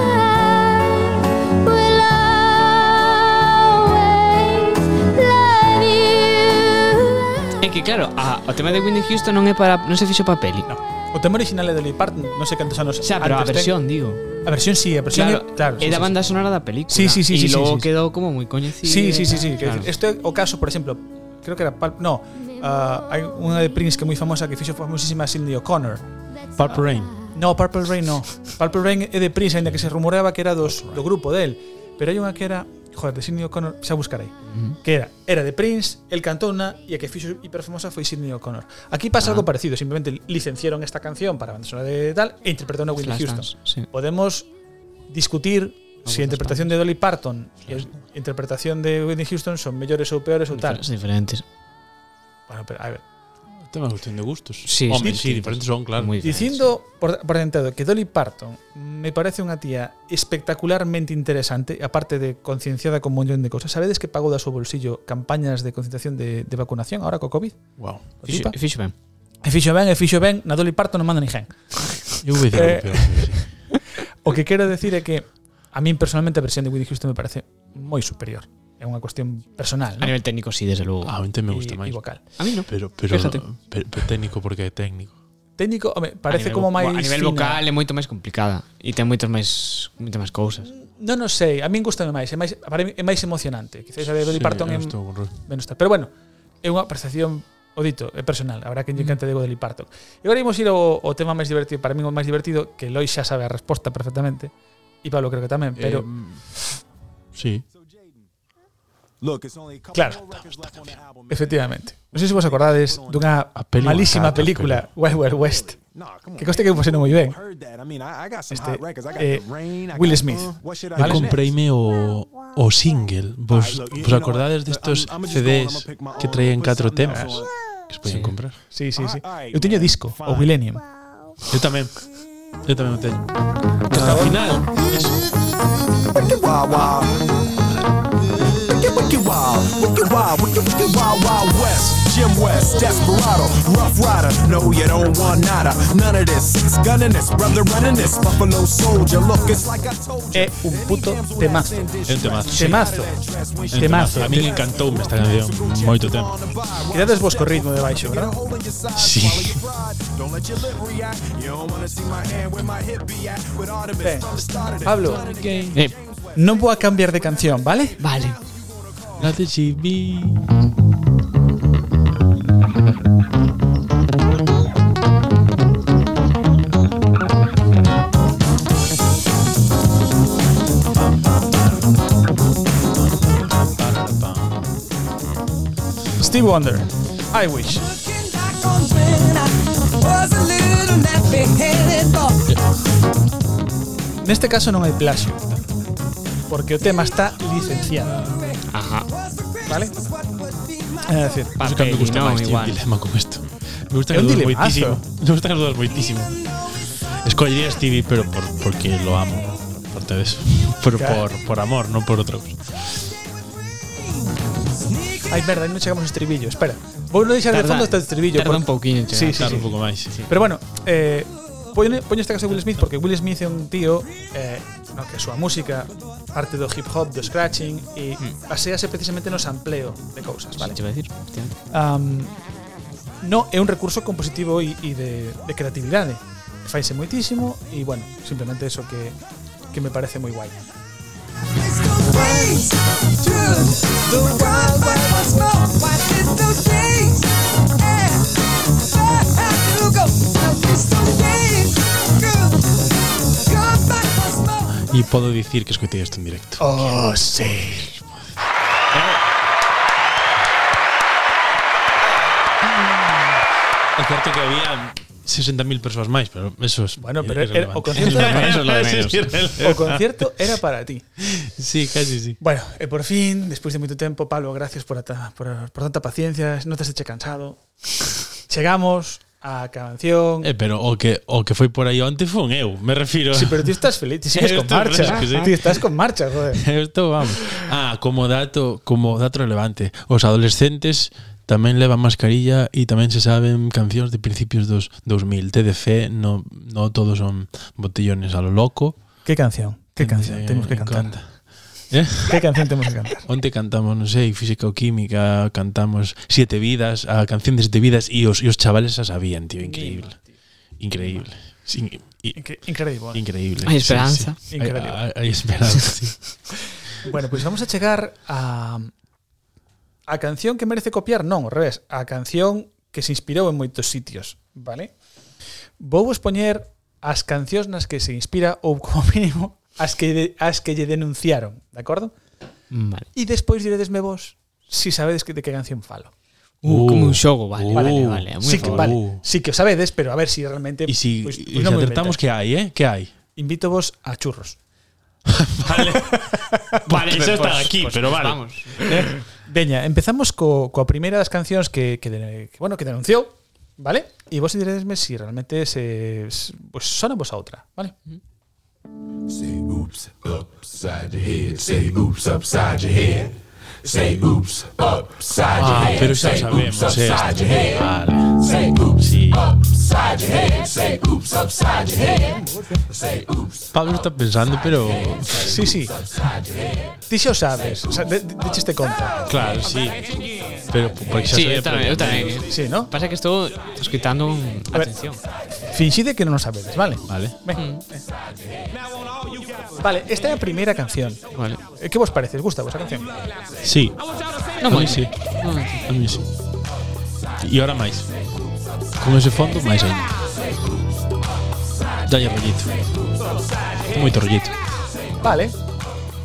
will always love you. É que claro, a, o tema de Whitney Houston non é para non se fixo pa peli. No. O tema original é de Dolly Parton, non sei cantos anos O sea, pero a antes ten. versión, digo. A versión sí, a versión Claro, é, claro claro é sí, da sí, banda sonora da película. Sí, sí, sí, sí, E sí, logo sí, sí. quedou como moi coñecida. Sí, sí, sí, sí. Quero Claro. decir, Esto é o caso, por exemplo, creo que era Pulp, no, ah, hai unha de Prince que é moi famosa que fixo famosísima Cindy O'Connor. Purple Rain. No, Purple Rain no. Purple Rain é de Prince, aínda que se rumoreaba que era dos do grupo del, pero hai unha que era, joder, de Cindy O'Connor, xa buscarei. Que era, era de Prince, el cantó una e a que fixo hiperfamosa foi Cindy O'Connor. Aquí pasa algo parecido, simplemente licenciaron esta canción para a banda sonora de tal e interpretaron a Whitney Houston. Flashdance, sí. podemos discutir si a interpretación de Dolly Parton e a interpretación de Whitney Houston son mellores ou peores ou tal. Difer- diferentes. Bueno, pero a ver, Tema é cuestión de gustos. Sí, Hombre, sí, sí, diferentes son, claro. Moi diferentes. dicindo por, por adiantado que Dolly Parton me parece unha tía espectacularmente interesante, aparte de concienciada con un montón de cosas. Sabedes que pagou da súa bolsillo campañas de concienciación de, de vacunación ahora co COVID? Wow. O E Fixo, tipa? fixo ben. E fixo ben, e fixo ben, na Dolly Parton non manda ni gen. Eu vou dicir Eh, algo peor. sí, sí. O Eh. que quero decir é que a min personalmente a versión de Whitney Houston me parece moi superior. É unha cuestión personal, A non? nivel técnico sí, desde logo. Ah, a mente me E- gusta e máis. vocal. A mí no. Pero, pero, Fíjate. pero, pero técnico porque é técnico. técnico, home, parece a nivel, como máis A nivel fina. vocal é moito máis complicada e ten moitas máis moitas máis cousas. Non, non sei, a min gustame máis, é máis para mí é máis emocionante. Quizás a de Dolly Sí, Parton é eu estou con Rui. menos tal, pero bueno, é unha apreciación o dito, é personal, habrá Mm. que lle cante Diego Dolly Parton. E agora imos ir ao, ao tema máis divertido, para min o máis divertido, que Loi xa sabe a resposta perfectamente, e Pablo creo que tamén, pero Eh, mm. sí. Look, it's only a couple Claro. more records left on the album. man. efectivamente. Non sei se vos acordades dunha A peli malísima batata, película, Wild Wild West. Nah, come on, Que conste que man. pusieron muy bien. Heard that. I mean, I- I got some Este, hot records. Ah, I got eh, The Rain, I Will got, Smith. uh, What Should Eu I Do Next? compreime o, o single. Vos, Ah, look, you vos know acordades what? destos I'm- I'm just CDs going, I'm gonna pick my que own, traían put catro something temas else on. que se podían Sí. comprar? Sí, sí, sí. Alright, Eu teño man, disco, o fine. Millennium. Eu tamén. Eu tamén o teño. Ao final, Wicked wild, wild. Wicked, wicked wild. Wicked wild, wicked, wicked wild, wild west. Jim West, Desperado, Rough Rider. No, you don't want nada. None of this. Six gunning this, brother running this. Buffalo Soldier. Look, it's like I told you. É un puto temazo. é un temazo. Temazo. É un Temazo. A mí encantoume esta canción moito tempo. Quedades vos co ritmo de baixo, verdad? Sí. Don't let your lip react. You don't wanna see my hand where my hip be at. With Ben, Artemis from the start of this. Pablo, Eh, non vou a cambiar de canción, vale? vale. La de Jimmy. Steve Wonder, I Wish. Neste este caso non hai plaxio Porque o tema está licenciado Ajá. Vale? É decir, Non sei cando me gusta Papel, non, máis, tío, un igual. dilema con isto. Me gusta É que un dudas dilemazo. moitísimo. Me gusta que dudas moitísimo. Escollería Stevie, pero por, porque lo amo. Aparte de eso. Pero Claro. por, por amor, non por outra cosa. ai merda, aí non chegamos ao estribillo Espera, vou non deixar de Tarda- fondo hasta o estribillo tarda porque- un pouquiño en chegar. Sí, sí, Claro, sí un pouco máis. Pero bueno, eh, poño, poño este caso de Will Smith porque Will Smith é un tío eh, no que a súa música parte do hip hop, do scratching e Mm. basease precisamente no sampleo de cousas, vale? Vale, che vou dicir. efectivamente. Um, no é un recurso ¿eh? compositivo e, e de, de creatividade. Faise moitísimo e, bueno, simplemente eso que que me parece muy guay. E podo dicir que escoitei isto en directo. Oh, sí. É certo que había 60.000 persoas máis, pero eso es eh, Bueno, pero era- irrelevante. o concierto era- Eso es lo de Eso es menos. O concierto era para ti. Sí, casi sí. Bueno, e por fin, despois de moito tempo, Pablo, gracias por, ata, por, por tanta paciencia, non te eche cansado. Chegamos á canción. Eh, pero o que o que foi por aí onte fun eu, me refiro. Sí, pero ti estás feliz, ti sigues con Estoy marcha. fresco, sí. Ti estás con marcha, joder. Esto vamos. Ah, como dato, como dato relevante, os adolescentes tamén levan mascarilla e tamén se saben cancións de principios dos 2000. TDC, no, no todos son botellones a lo loco. Que canción? Que canción Eh, temos que en cantar? conta. Eh? Que canción temos que cantar? Onte cantamos, non sei, física ou química, cantamos Siete vidas, a canción de Siete vidas e os, e os chavales a sabían, tío, increíble. Increíble. Sí, i- Incre- Increíble. increíble. Hay esperanza. Sí, sí. Increíble. Hay, hay- hay esperanza, sí. Bueno, pois pues vamos a chegar a a canción que merece copiar, non, ao revés, a canción que se inspirou en moitos sitios, vale? Vou vos poñer as cancións nas que se inspira ou como mínimo as que de- as que lle denunciaron, de acordo? Mm, Vale. E despois diredesme vos si sabedes que de que canción falo. Uh, Uh, como un xogo, vale, uh, vale, vale. Muy Sí que, favor. vale, Uh. sí que o sabedes, pero a ver si realmente E si, pois- pues, pois non me acertamos, invento. que hai, eh? Que hai? invito vos a churros. Vale, Pues- eso está pues- aquí, pues- pero pues vale. Vamos. Veña, empezamos co, coa primeira das cancións que, que, de, que bueno, que denunciou, vale? E vos diréisme si realmente se, se pues, sona vos a outra, vale? Say oops upside your head. Say oops upside your head. Say oops upside your Ah, head. pero xa Say sabemos, oops upside este. your head. Vale. Say oops Sí. upside your head. Say oops upside your head. Say oops. Pablo está pensando, pero... Sí, sí. Ti xa o sabes, o sea, de, de, decheste conta. Claro, sí. Pero porque xa Sí, sabía eu tamén, eu previamente. tamén. Sí, ¿no? Pasa que estou escritando atención. Finxide que non o sabedes, vale? Vale. Ven. Vale, esta é a primeira canción. Vale. Eh, Que vos parece? Gusta vos a canción? Sí, Non a moi. mí sí. A mí sí. E ahora máis. Con ese fondo, máis ainda. Dalle rollito. Moito rollito. Vale.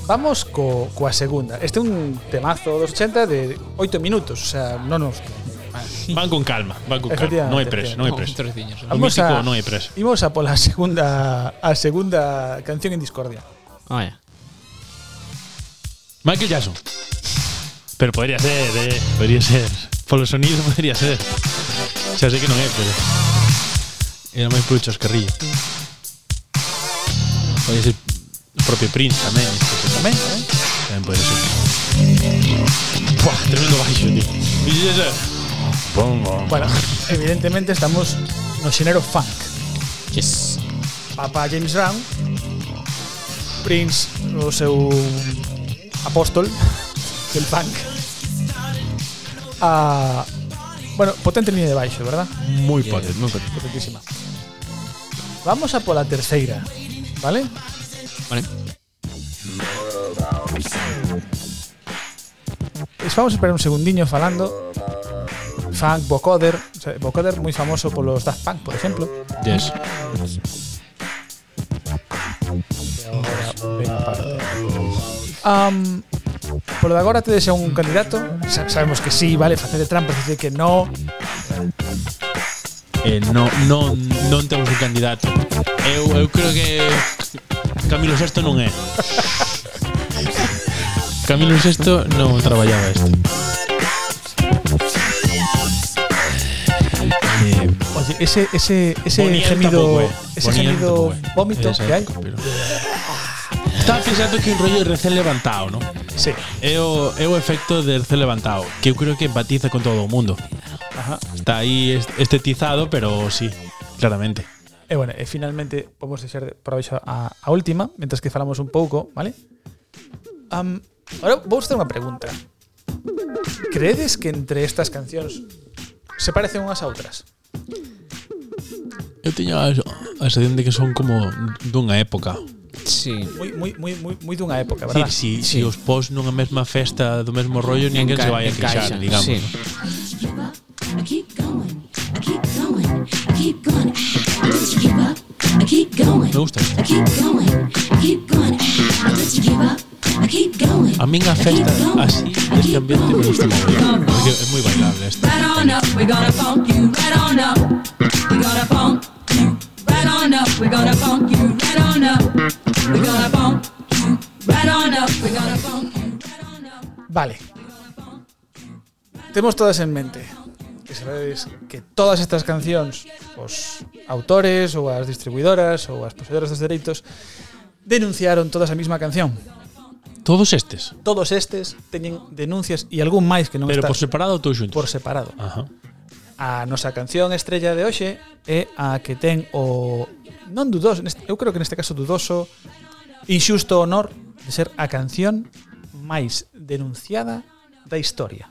Vamos co, coa segunda. Este é un temazo dos 80 de 8 minutos, o sea, non nos Van con calma, van con calma. Efectivamente, Non hai presa, non hai Non, presa. tres diños. Al mítico non hai presa. Imos a pola segunda a segunda canción en discordia. Vaya. Michael Jackson. Pero podría ser, eh. Podría ser. Polo sonido podría ser. Xa sei que non é, pero... Era máis polo chascarrillo. Podría ser o propio Prince tamén. Isto tamén, eh? Tamén podría ser. Buah, tremendo baixo, tío. E xa sei. Bom, bom. Bueno, evidentemente estamos no xénero funk. Yes. Papá James Brown, Prince, o seu apóstol del funk. A Bueno, potente liña de baixo, ¿verdad? Moi potente, moi potente. Potentísima. Vamos a pola terceira, vale? Vale. Es vamos a esperar un segundiño falando. Funk, vocoder, o sea, vocoder moi famoso polos Daft Punk, por exemplo. Yes. Um, polo de agora tedes a un candidato Sa Sabemos que sí, vale, facede trampas Dicir que no Eh, no, non, non temos un candidato. Eu, eu creo que Camilo Sexto non é. Camilo Sexto non traballaba isto. Eh, Oye, ese, ese, ese Boniel gemido tampouco é. Ese Boniel gemido tampouco é. vómito Esa que hai época, pero- Estaba pensando que un rollo recén levantado, ¿no? Sí, É o, é o efecto de recén levantado, que eu creo que empatiza con todo o mundo. ajá Está aí est- estetizado, pero sí, claramente. E bueno, e finalmente vamos deixar de- por abaixo a, a última, mentras que falamos un pouco, vale? Um, ahora vou facer unha pregunta. Credes que entre estas cancións se parecen unhas a outras? Eu teño a, a sensación de que son como dunha época. Sí. Moi, moi, moi, moi, moi dunha época, Dicir, verdad? si, Sí. si os pos nunha mesma festa do mesmo rollo, ninguén Enca- se vai a queixar, encaixan, digamos. sí. I keep going, I keep going, I keep going. I let you give up. I keep going. Me gusta. I keep going, I keep going. I let you give up. I keep going. A min a festa así, deste ambiente, me gusta moito. Porque é moi bailable esta. Right on up, we're gonna funk you. Right on up, we're gonna funk you. Right on up, we're gonna funk you. Right on up, we're gonna funk you. Right on up, we're gonna funk you. Right on up. Vale. Temos todas en mente que sabedes que todas estas cancións os autores ou as distribuidoras ou as poseedoras dos dereitos denunciaron todas a mesma canción. Todos estes, Todos estes teñen denuncias e algún máis que non pero está por separado ou todos xuntos. por separado. Ajá. A nosa canción estrella de hoxe é a que ten o non dudoso, neste, eu creo que neste caso dudoso, inxusto honor de ser a canción máis denunciada da historia.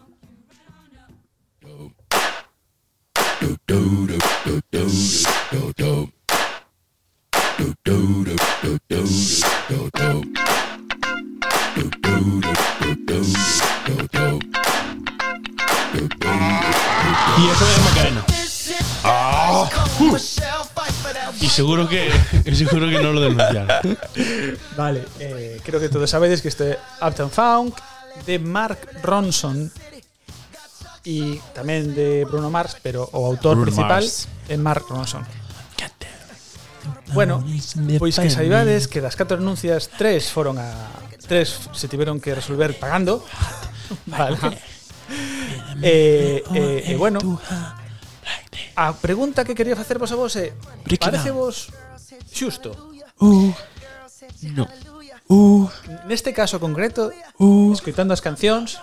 E esa é Macarena. E seguro que e seguro que non lo denunciaron. Vale, eh, creo que todos sabedes que este é Uptown Funk de Mark Ronson e tamén de Bruno Mars, pero o autor Bruno principal Mars. é Mark Ronson. Bueno, pois que saibades que das catro denuncias tres foron a tres se tiveron que resolver pagando. Vale. E eh, eh, eh, bueno, a pregunta que quería facervos a vos é parece vos xusto No. Neste caso concreto, escoitando as cancións,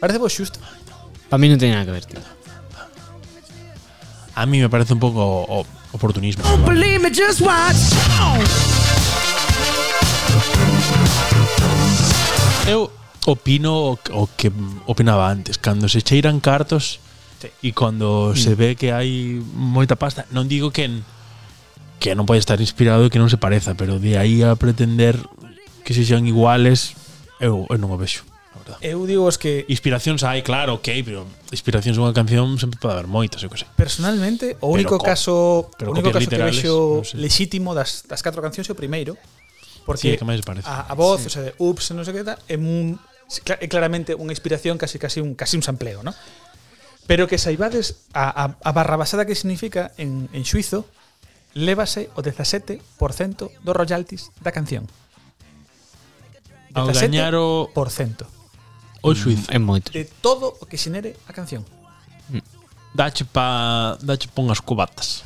parece vos xusto. Para mí no tiene nada que ver, tío. A mí me parece un pouco o, o- oportunismo. Believe me, just watch. Eu opino o, o que opinaba antes, cando se cheiran cartos Sí. e cando se ve que hai moita pasta, non digo que en- que non pode estar inspirado e que non se pareza, pero de aí a pretender que se sean iguales, eu, eu non o vexo, a verdad. Eu digo os que Inspiracións hai, claro, ok, pero inspiracións unha canción sempre pode haber moitas, eu que sei. personalmente o único co- caso, pero o único copias caso que literales, vexo non sei. lexítimo das das catro cancións é o primeiro, Sí, porque é que máis parece. a, a voz, sí. o sea, de ups, non sei que tal, é un cla- é claramente unha inspiración casi casi un casi un sampleo, ¿no? Pero que saibades a, a, a barrabasada que significa en, en suizo lévase o 17% dos royalties da canción. Ao gañar o, 17%. o suizo, Es muy de todo o que xenere a canción. dache pa, dache pa unhas cubatas.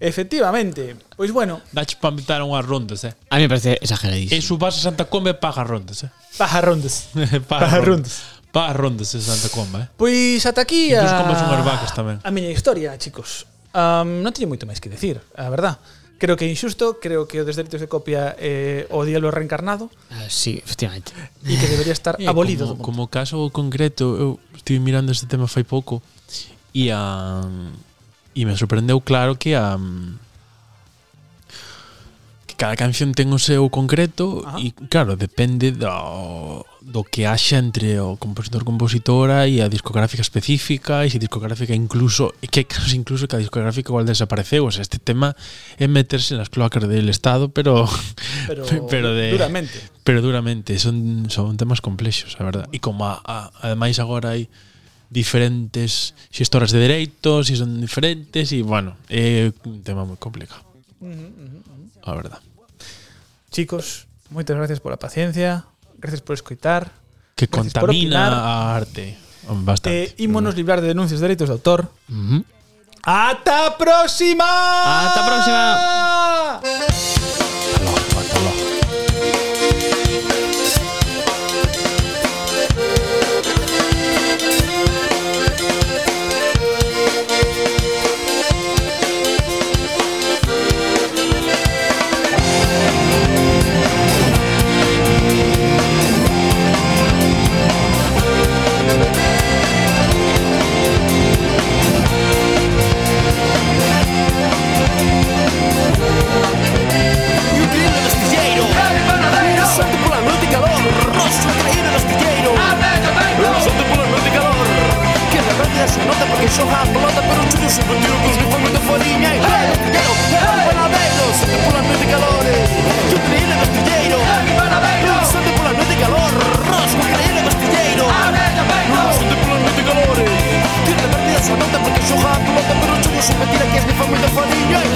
Efectivamente. Pois bueno, Dache pa invitar a unhas rondas, eh. A mí me parece exageradísimo. E subas a Santa Comba e pagas rondas, eh. baja rondas. Pagas rondas. Pagas rondas en Santa Comba, eh? Pois Pues ata aquí a... Incluso con as unhas vacas tamén. A miña historia, chicos. Um, non teño moito máis que decir, a verdad. Creo que é injusto, creo que o dos dereitos de copia é o diablo reencarnado Ah, sí, efectivamente. e que debería estar abolido. do mundo. Como, como caso concreto, eu estive mirando este tema fai pouco e a e me sorprendeu claro que a que cada canción ten o seu concreto Ajá. e claro, depende do do que haxa entre o compositor compositora e a discográfica específica e se discográfica incluso e que hai casos incluso que a discográfica igual desapareceu o sea, este tema é meterse nas cloacas del Estado pero pero, pero de- duramente. Pero duramente, son, son temas complexos, a verdad. E como a, a, ademais agora hai diferentes xestoras de dereitos, e son diferentes, e bueno, é un tema moi complicado, a verdad. Chicos, moitas gracias pola paciencia, gracias por escoitar. Que Gracias por contamina opinar. a arte Eh, bastante. ímonos librar de denuncias de dereitos de autor. ¡Hasta próxima! Hasta próxima. Thank que yo jamás te pero tuyo soy vendido con mi familia de fariña y hey, quiero, hey, panaderos, siente por la noche de calores, yo creí en el castillero, panaderos, siente por la noche de calor, rasgo, creí en el castillero, siente por la noche de calores, tiene perdido su nota porque yo jamás te pero tuyo soy mentira que es mi familia de fariña y